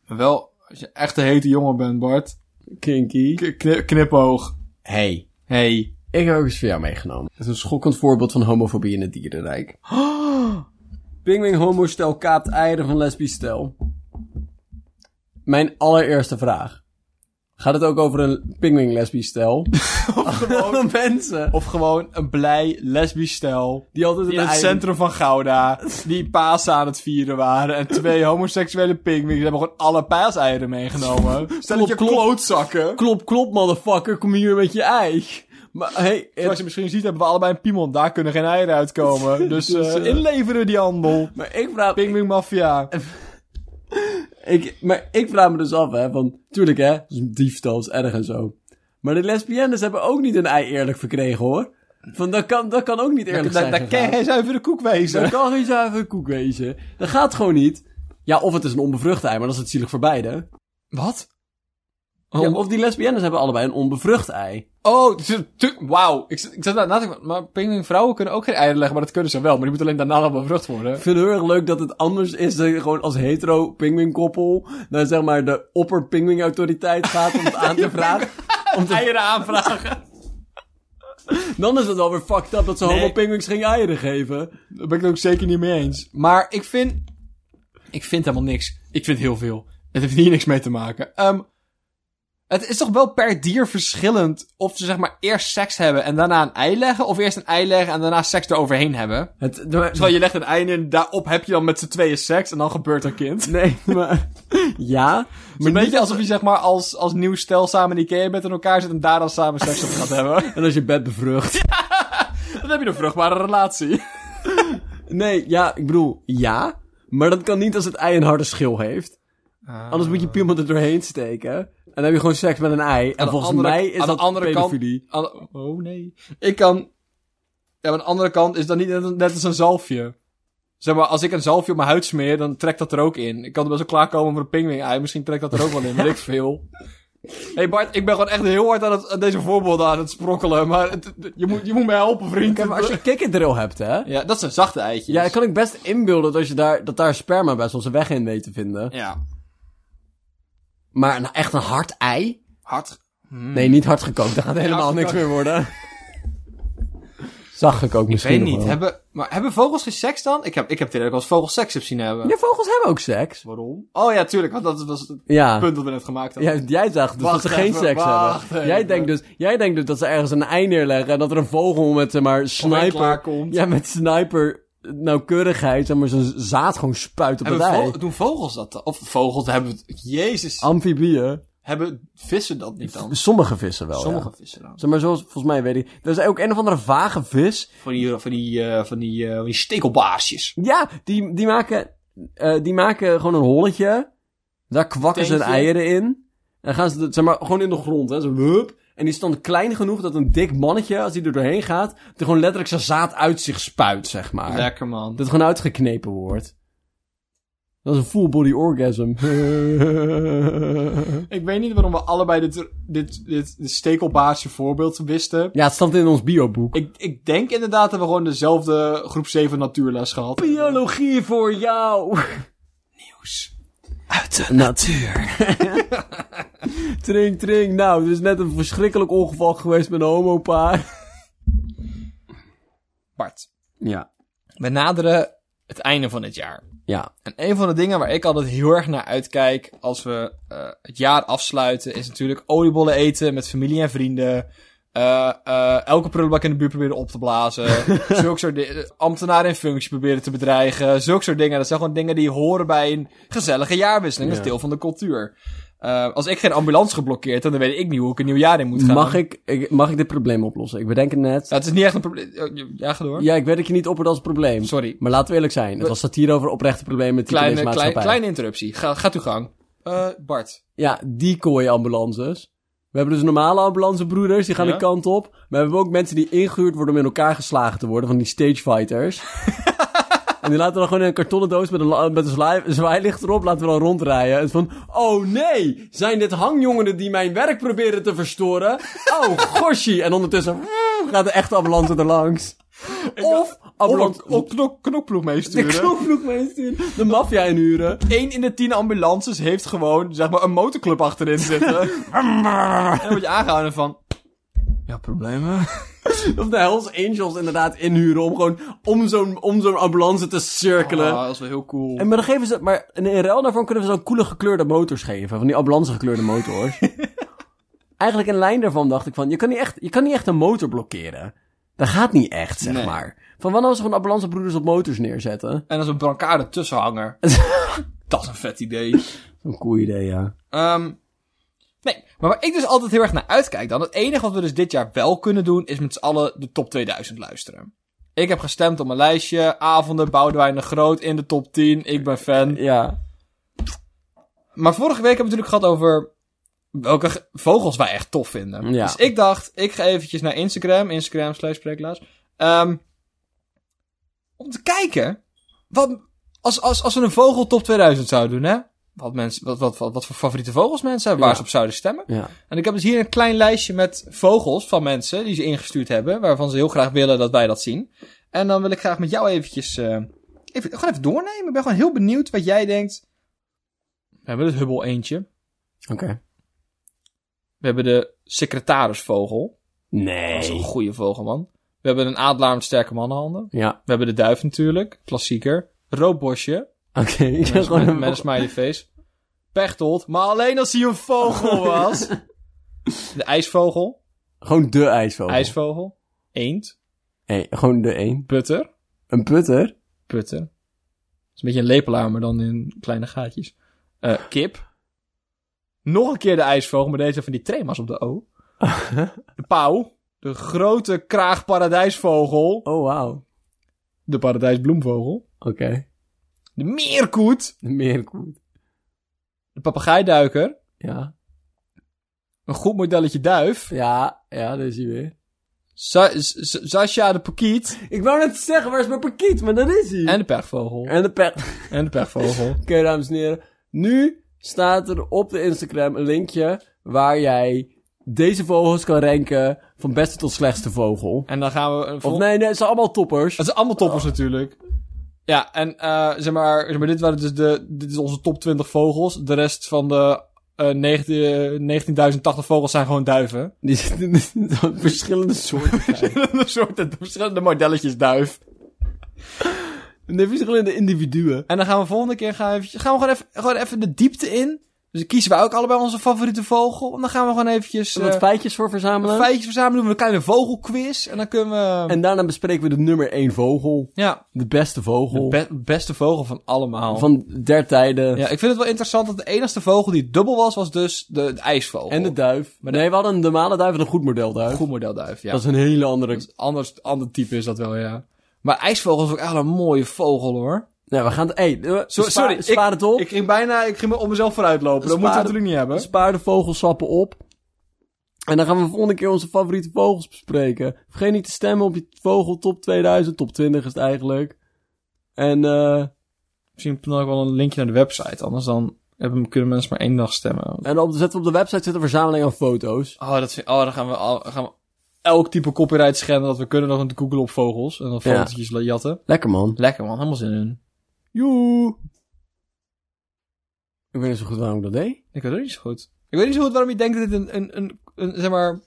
[SPEAKER 1] Wel, als je echt een hete jongen bent, Bart.
[SPEAKER 2] Kinky.
[SPEAKER 1] k- kni- knipoog.
[SPEAKER 2] Hey,
[SPEAKER 1] Hey.
[SPEAKER 2] ik heb ook iets voor jou meegenomen. Het is een schokkend voorbeeld van homofobie in het dierenrijk. Oh! Pingwing homo stel kaapt eieren van lesbisch stel. Mijn allereerste vraag. Gaat het ook over een pingwing lesbisch stel? Gewoon mensen.
[SPEAKER 1] Of gewoon een blij lesbisch stel.
[SPEAKER 2] Die altijd
[SPEAKER 1] Die in
[SPEAKER 2] een
[SPEAKER 1] het
[SPEAKER 2] ei-
[SPEAKER 1] centrum van Gouda. Die Pasen aan het vieren waren. En twee homoseksuele pingwings hebben gewoon alle paaseieren meegenomen. Stel dat je
[SPEAKER 2] Klop, klop.
[SPEAKER 1] klootzakken.
[SPEAKER 2] Klop, klop, motherfucker. Kom hier met je ei. Maar hey, het-
[SPEAKER 1] Zoals je misschien ziet hebben we allebei een piemel. Daar kunnen geen eieren uitkomen. Dus,
[SPEAKER 2] Dus,
[SPEAKER 1] eh,
[SPEAKER 2] eh,
[SPEAKER 1] inleveren die handel.
[SPEAKER 2] maar ik vraag...
[SPEAKER 1] Pingwing maffia.
[SPEAKER 2] Ik, maar ik vraag me dus af, hè, van... Tuurlijk, hè, het is een diefstal, is erg en zo. Maar de lesbiennes hebben ook niet een ei eerlijk verkregen, hoor. Van, dat kan, dat kan ook niet eerlijk
[SPEAKER 1] Daar
[SPEAKER 2] zijn
[SPEAKER 1] daar
[SPEAKER 2] gegaan.
[SPEAKER 1] kan geen zuivere koek wezen.
[SPEAKER 2] Dat kan geen zuivere koek wezen. Dat gaat gewoon niet. Ja, of het is een onbevrucht ei, maar dat is het zielig voor beide.
[SPEAKER 1] Wat?
[SPEAKER 2] Ja, of die lesbiennes hebben allebei een onbevrucht ei.
[SPEAKER 1] Oh, het is- tu- wauw. Ik, zat- ik zat daar na te denken, maar pingwingvrouwen kunnen ook geen eieren leggen, maar dat kunnen ze wel. Maar die moeten alleen daarna nog bevrucht worden.
[SPEAKER 2] Ik vind het heel erg leuk dat het anders is dat je gewoon als hetero pinguïnkoppel naar zeg maar de opper pinguïnautoriteit gaat om het aan te vragen. Om te eieren aanvragen. Dan is het wel weer fucked up dat ze homo pinguïns geen eieren geven.
[SPEAKER 1] Daar ben ik het ook zeker niet mee eens. Maar ik vind... Ik vind helemaal niks. Ik vind heel veel. Het heeft hier niks mee te maken. Ehm, het is toch wel per dier verschillend of ze zeg maar eerst seks hebben en daarna een ei leggen, of eerst een ei leggen en daarna seks eroverheen hebben.
[SPEAKER 2] Het,
[SPEAKER 1] Terwijl Oh, je legt een ei in, daarop heb je dan met z'n tweeën seks en dan gebeurt er kind.
[SPEAKER 2] Nee, maar... Ja,
[SPEAKER 1] Maar
[SPEAKER 2] maar
[SPEAKER 1] een
[SPEAKER 2] niet
[SPEAKER 1] beetje alsof je zeg maar als, als nieuw stel samen in Ikea bent en elkaar zit en daar dan samen seks op gaat hebben.
[SPEAKER 2] En als je bed bevrucht.
[SPEAKER 1] Dan heb je een vruchtbare relatie.
[SPEAKER 2] Nee, ja, ik bedoel, ja. Maar dat kan niet als het ei een harde schil heeft.
[SPEAKER 1] Ah.
[SPEAKER 2] Anders moet je piemel er doorheen steken. En dan heb je gewoon seks met een ei. En,
[SPEAKER 1] de
[SPEAKER 2] volgens
[SPEAKER 1] andere-
[SPEAKER 2] mij is
[SPEAKER 1] aan de
[SPEAKER 2] dat
[SPEAKER 1] andere kant-
[SPEAKER 2] pedofilie.
[SPEAKER 1] Aan de- oh nee. Ik kan... Ja, maar aan de andere kant is dat niet net, net als een zalfje. Zeg maar, als ik een zalfje op mijn huid smeer, dan trekt dat er ook in. Ik kan er best wel klaarkomen voor een pingwing ei. Misschien trekt dat er ook wel in, weet ik veel. hey Bart, ik ben gewoon echt heel hard aan, het, aan deze voorbeelden aan het sprokkelen. Maar het- het- je, moet, je moet me helpen, vriend.
[SPEAKER 2] Kijk, maar als je kikkerdrill hebt, hè.
[SPEAKER 1] Ja, dat zijn zachte dus- eitjes.
[SPEAKER 2] Ja, ik kan ik best inbeelden dat, je daar, dat daar sperma best wel zijn weg in weet te vinden.
[SPEAKER 1] Ja.
[SPEAKER 2] Maar een, echt een hard ei?
[SPEAKER 1] Hard.
[SPEAKER 2] Nee, niet hard gekookt. Daar gaat helemaal niks meer worden. Zacht gekookt
[SPEAKER 1] Ik
[SPEAKER 2] misschien
[SPEAKER 1] weet
[SPEAKER 2] nog
[SPEAKER 1] niet.
[SPEAKER 2] wel.
[SPEAKER 1] Hebben, maar hebben vogels geen seks dan? Ik heb, ik heb het idee dat ik als vogels seks heb zien hebben.
[SPEAKER 2] Ja, vogels hebben ook seks.
[SPEAKER 1] Waarom? Oh ja, tuurlijk. Want dat was het
[SPEAKER 2] Ja.
[SPEAKER 1] punt dat we net gemaakt hadden.
[SPEAKER 2] Jij, jij dacht dus
[SPEAKER 1] Wacht
[SPEAKER 2] dat ze geen
[SPEAKER 1] even,
[SPEAKER 2] seks
[SPEAKER 1] wacht
[SPEAKER 2] hebben.
[SPEAKER 1] even.
[SPEAKER 2] Jij denkt, dus, jij denkt dus dat ze ergens een ei neerleggen en dat er een vogel met zeg maar sniper.
[SPEAKER 1] klaarkomt.
[SPEAKER 2] Ja, met sniper nauwkeurigheid, zeg maar, zo'n zaad gewoon spuit op het
[SPEAKER 1] Hebben
[SPEAKER 2] ei.
[SPEAKER 1] vo- doen vogels dat dan? Of vogels hebben... het- Jezus.
[SPEAKER 2] Amfibieën.
[SPEAKER 1] hebben vissen dat niet dan?
[SPEAKER 2] Sommige vissen wel.
[SPEAKER 1] Sommige
[SPEAKER 2] Ja.
[SPEAKER 1] vissen dan.
[SPEAKER 2] Zeg maar, zoals volgens mij weet ik. Er is ook een of andere vage vis.
[SPEAKER 1] Van die, van die, eh, van die, eh, van die stekelbaarsjes.
[SPEAKER 2] Ja, die, die, maken, eh, die maken gewoon een holletje. Daar kwakken ze hun
[SPEAKER 1] Teentje.
[SPEAKER 2] eieren in. En dan gaan ze, de- zeg maar, gewoon in de grond. Hè, zo, hup. En die is dan klein genoeg dat een dik mannetje, als die er doorheen gaat, er gewoon letterlijk zijn zaad uit zich spuit, zeg maar.
[SPEAKER 1] Lekker man.
[SPEAKER 2] Dat het gewoon uitgeknepen wordt. Dat is een full body orgasm.
[SPEAKER 1] Ik weet niet waarom we allebei dit, dit, dit, dit stekelbaarsje voorbeeld wisten.
[SPEAKER 2] ja, het stond in ons bioboek.
[SPEAKER 1] Ik, ik denk inderdaad dat we gewoon dezelfde groep 7 natuurles gehad hebben.
[SPEAKER 2] Biologie voor jou. Uit de natuur. tring, tring. Nou, er is net een verschrikkelijk ongeval geweest met een homopaar.
[SPEAKER 1] Bart,
[SPEAKER 2] Ja.
[SPEAKER 1] we naderen het einde van dit jaar.
[SPEAKER 2] Ja.
[SPEAKER 1] En een van de dingen waar ik altijd heel erg naar uitkijk als we eh, het jaar afsluiten, is natuurlijk oliebollen eten met familie en vrienden. Eh, eh, elke prullenbak in de buurt proberen op te blazen. zulke soort di- eh, ambtenaren in functie proberen te bedreigen. Zulke soort dingen. Dat zijn gewoon dingen die horen bij een gezellige jaarwisseling. Dat is
[SPEAKER 2] Ja.
[SPEAKER 1] deel van de cultuur. Eh, als ik geen ambulance geblokkeerd heb, dan weet ik niet hoe ik een nieuw jaar in moet gaan.
[SPEAKER 2] Mag ik, ik, mag ik dit probleem oplossen? Ik bedenk het net.
[SPEAKER 1] Ja, het is niet echt een probleem. Eh, Ja, ga door.
[SPEAKER 2] Ja, ik weet dat je niet oppert als een probleem.
[SPEAKER 1] Sorry.
[SPEAKER 2] Maar laten we eerlijk zijn. Het was satire over oprechte problemen met die
[SPEAKER 1] Kleine,
[SPEAKER 2] maatschappij.
[SPEAKER 1] klein- kleine interruptie. Ga, gaat uw gang. Eh, Bart.
[SPEAKER 2] Ja, die kooi ambulances. We hebben dus normale ambulancebroeders, die gaan
[SPEAKER 1] Ja.
[SPEAKER 2] de kant op. Maar we hebben ook mensen die ingehuurd worden om in elkaar geslagen te worden, van die stagefighters. en die laten we dan gewoon in een kartonnen doos met een, la- met een zwaai- zwaailicht erop, laten we dan rondrijden. En van, oh nee, zijn dit hangjongeren die mijn werk proberen te verstoren? Oh, goshie. En ondertussen mm, gaat de echte ambulance er langs. Of ambulance...
[SPEAKER 1] Op, op knok, knokploeg
[SPEAKER 2] de
[SPEAKER 1] meesturen.
[SPEAKER 2] knoopvloek meesturen. De maffia inhuren.
[SPEAKER 1] 1 in de 10 ambulances heeft gewoon, zeg maar, een motorclub achterin zitten. en dan word je aangehouden van... Ja, problemen?
[SPEAKER 2] Of de Hells Angels inderdaad inhuren om gewoon om zo'n, om zo'n ambulance te cirkelen.
[SPEAKER 1] Ah, dat is wel heel cool.
[SPEAKER 2] En maar dan geven ze, maar in in ruil daarvan kunnen we zo'n coole gekleurde motors geven. Van die ambulance gekleurde motors. eigenlijk in lijn daarvan dacht ik van... Je kan niet echt, je kan niet echt een motor blokkeren. Dat gaat niet echt, zeg
[SPEAKER 1] Nee.
[SPEAKER 2] maar. Van wanneer als we gewoon ambulancebroeders op motors neerzetten?
[SPEAKER 1] En als een brancarde tussenhanger. dat is een vet idee.
[SPEAKER 2] Een cool idee, ja.
[SPEAKER 1] Ehm, nee, maar waar ik dus altijd heel erg naar uitkijk dan... Het enige wat we dus dit jaar wel kunnen doen... is met z'n allen de top 2000 luisteren. Ik heb gestemd op mijn lijstje. Avonden, Boudewijn de Groot in de top 10. Ik ben fan.
[SPEAKER 2] Ja.
[SPEAKER 1] Maar vorige week hebben we natuurlijk gehad over... welke ge- vogels wij echt tof vinden.
[SPEAKER 2] Ja.
[SPEAKER 1] Dus ik dacht, ik ga eventjes naar Instagram. Instagram slash spreeklaas. Ehm, om te kijken... Wat, als, als, als we een vogel top 2000 zouden doen, hè? Wat, mensen, wat, wat, wat, wat voor favoriete vogels mensen hebben, waar
[SPEAKER 2] Ja.
[SPEAKER 1] ze op zouden stemmen.
[SPEAKER 2] Ja.
[SPEAKER 1] En ik heb dus hier een klein lijstje met vogels van mensen die ze ingestuurd hebben, waarvan ze heel graag willen dat wij dat zien. En dan wil ik graag met jou eventjes, eh even, gewoon even doornemen. Ik ben gewoon heel benieuwd wat jij denkt. We hebben het hubbel eentje.
[SPEAKER 2] Oké.
[SPEAKER 1] We hebben de secretarisvogel. Dat is een
[SPEAKER 2] Nee.
[SPEAKER 1] goede vogel, man. We hebben een adelaar met sterke mannenhanden.
[SPEAKER 2] Ja.
[SPEAKER 1] We hebben de duif natuurlijk, klassieker. Roodbosje,
[SPEAKER 2] Oké. Ik
[SPEAKER 1] met,
[SPEAKER 2] wil gewoon
[SPEAKER 1] met een smiley face. Pechtold, maar alleen als hij een vogel was. De ijsvogel,
[SPEAKER 2] Gewoon de ijsvogel.
[SPEAKER 1] ijsvogel, eend.
[SPEAKER 2] Nee, gewoon de één.
[SPEAKER 1] Putter.
[SPEAKER 2] Een putter.
[SPEAKER 1] Putter. Dat is een beetje een lepelaar, maar dan in kleine gaatjes. Eh, kip. Nog een keer de ijsvogel, maar deze van die trema's op de O. De pauw. De grote kraagparadijsvogel.
[SPEAKER 2] Oh, wauw.
[SPEAKER 1] De paradijsbloemvogel.
[SPEAKER 2] Oké.
[SPEAKER 1] De meerkoet.
[SPEAKER 2] De meerkoet.
[SPEAKER 1] De papegaaiduiker.
[SPEAKER 2] Ja.
[SPEAKER 1] Een goed modelletje duif.
[SPEAKER 2] Ja. Ja, daar is hij weer.
[SPEAKER 1] Sa- S- S- Sasha de pakiet.
[SPEAKER 2] Ik wou net zeggen, waar is mijn parkiet? Maar dat is hij.
[SPEAKER 1] En de pervogel.
[SPEAKER 2] en de pet.
[SPEAKER 1] En de pervogel.
[SPEAKER 2] Oké, dames en heren. Nu staat er op de Instagram een linkje waar jij deze vogels kan ranken van beste tot slechtste vogel.
[SPEAKER 1] En dan gaan we... een
[SPEAKER 2] Of
[SPEAKER 1] vol-
[SPEAKER 2] nee, nee, het zijn allemaal toppers.
[SPEAKER 1] Het zijn allemaal toppers natuurlijk. Ja, en eh, zeg, maar, zeg maar, dit waren dus de, dit is onze top 20 vogels. De rest van de eh 19, eh, 19.080 vogels zijn gewoon duiven.
[SPEAKER 2] Die zitten in verschillende soorten.
[SPEAKER 1] Verschillende soorten, verschillende modelletjes duif.
[SPEAKER 2] Nee, verschillende individuen.
[SPEAKER 1] En dan gaan we volgende keer gaan we, eventjes- gaan we gewoon, even, gewoon even de diepte in. Dus dan kiezen wij ook allebei onze favoriete vogel. En dan gaan we gewoon eventjes
[SPEAKER 2] Zullen we
[SPEAKER 1] eh
[SPEAKER 2] wat feitjes voor verzamelen?
[SPEAKER 1] feitjes verzamelen. Doen we een kleine vogelquiz. En dan kunnen we...
[SPEAKER 2] En daarna bespreken we de nummer 1 vogel.
[SPEAKER 1] ja,
[SPEAKER 2] De beste
[SPEAKER 1] de
[SPEAKER 2] vogel.
[SPEAKER 1] be- beste vogel van allemaal.
[SPEAKER 2] van der tijden.
[SPEAKER 1] Ja, ik vind het wel interessant dat de enige vogel die dubbel was, was dus de, de ijsvogel.
[SPEAKER 2] En Oh. de duif. nee, we hadden een normale duif en een goed model duif.
[SPEAKER 1] Goed modelduif, ja.
[SPEAKER 2] Dat is een hele andere...
[SPEAKER 1] Dat is anders, ander type is dat wel, ja. Maar ijsvogel is ook echt een mooie vogel, hoor.
[SPEAKER 2] Nee, we gaan... Hey, eh, spa-
[SPEAKER 1] sorry,
[SPEAKER 2] spaar het op.
[SPEAKER 1] Ik ging bijna, ik ging me om mezelf vooruitlopen. Dat
[SPEAKER 2] Spaar-
[SPEAKER 1] moeten we natuurlijk niet hebben.
[SPEAKER 2] Spaar de vogelsappen op. En dan gaan we volgende keer onze favoriete vogels bespreken. Vergeet niet te stemmen op je vogel top 2000. Top 20 is het eigenlijk. En eh,
[SPEAKER 1] Misschien dan ook wel een linkje naar de website. Anders dan hebben, kunnen mensen maar één dag stemmen.
[SPEAKER 2] en op, zetten we op de website zit een verzameling aan foto's.
[SPEAKER 1] Oh, dat vind, oh dan gaan we, al- gaan we elk type copyright schenden dat we kunnen. Dan googlen op vogels. En dan
[SPEAKER 2] Ja.
[SPEAKER 1] fotootjes jatten.
[SPEAKER 2] Lekker man.
[SPEAKER 1] Lekker, man. Helemaal zin in.
[SPEAKER 2] Joe. Ik weet niet zo goed waarom ik dat deed.
[SPEAKER 1] Ik weet het niet zo goed. Ik weet niet zo goed waarom je denkt dat dit een, een, een, een, zeg maar,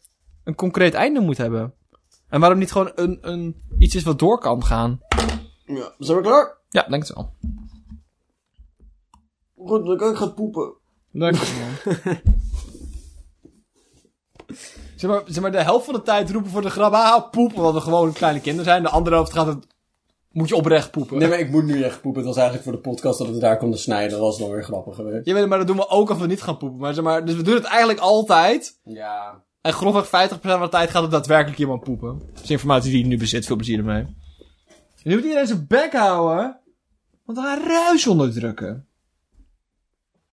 [SPEAKER 1] een concreet einde moet hebben. En waarom niet gewoon een, een, iets is wat door kan gaan.
[SPEAKER 2] Ja, zijn we klaar?
[SPEAKER 1] Ja, denk het wel.
[SPEAKER 2] Goed, dan kan ik gaan poepen.
[SPEAKER 1] Dank je man. zeg, maar, zeg maar, de helft van de tijd roepen voor de grap, ah, poep, omdat we gewoon kleine kinderen zijn. De andere helft gaat het, moet je oprecht poepen.
[SPEAKER 2] Nee, maar ik moet nu echt poepen. Het was eigenlijk voor de podcast dat we daar konden snijden. Dat was dan weer grappig geweest.
[SPEAKER 1] Je weet het, maar dat doen we ook als we niet gaan poepen. Maar, zeg maar, dus we doen het eigenlijk altijd.
[SPEAKER 2] Ja.
[SPEAKER 1] En grofweg 50% van de tijd gaat het daadwerkelijk iemand poepen. Dat is informatie die je nu bezit. Veel plezier ermee. En nu moet iedereen zijn bek houden. Want we gaan ruis onderdrukken.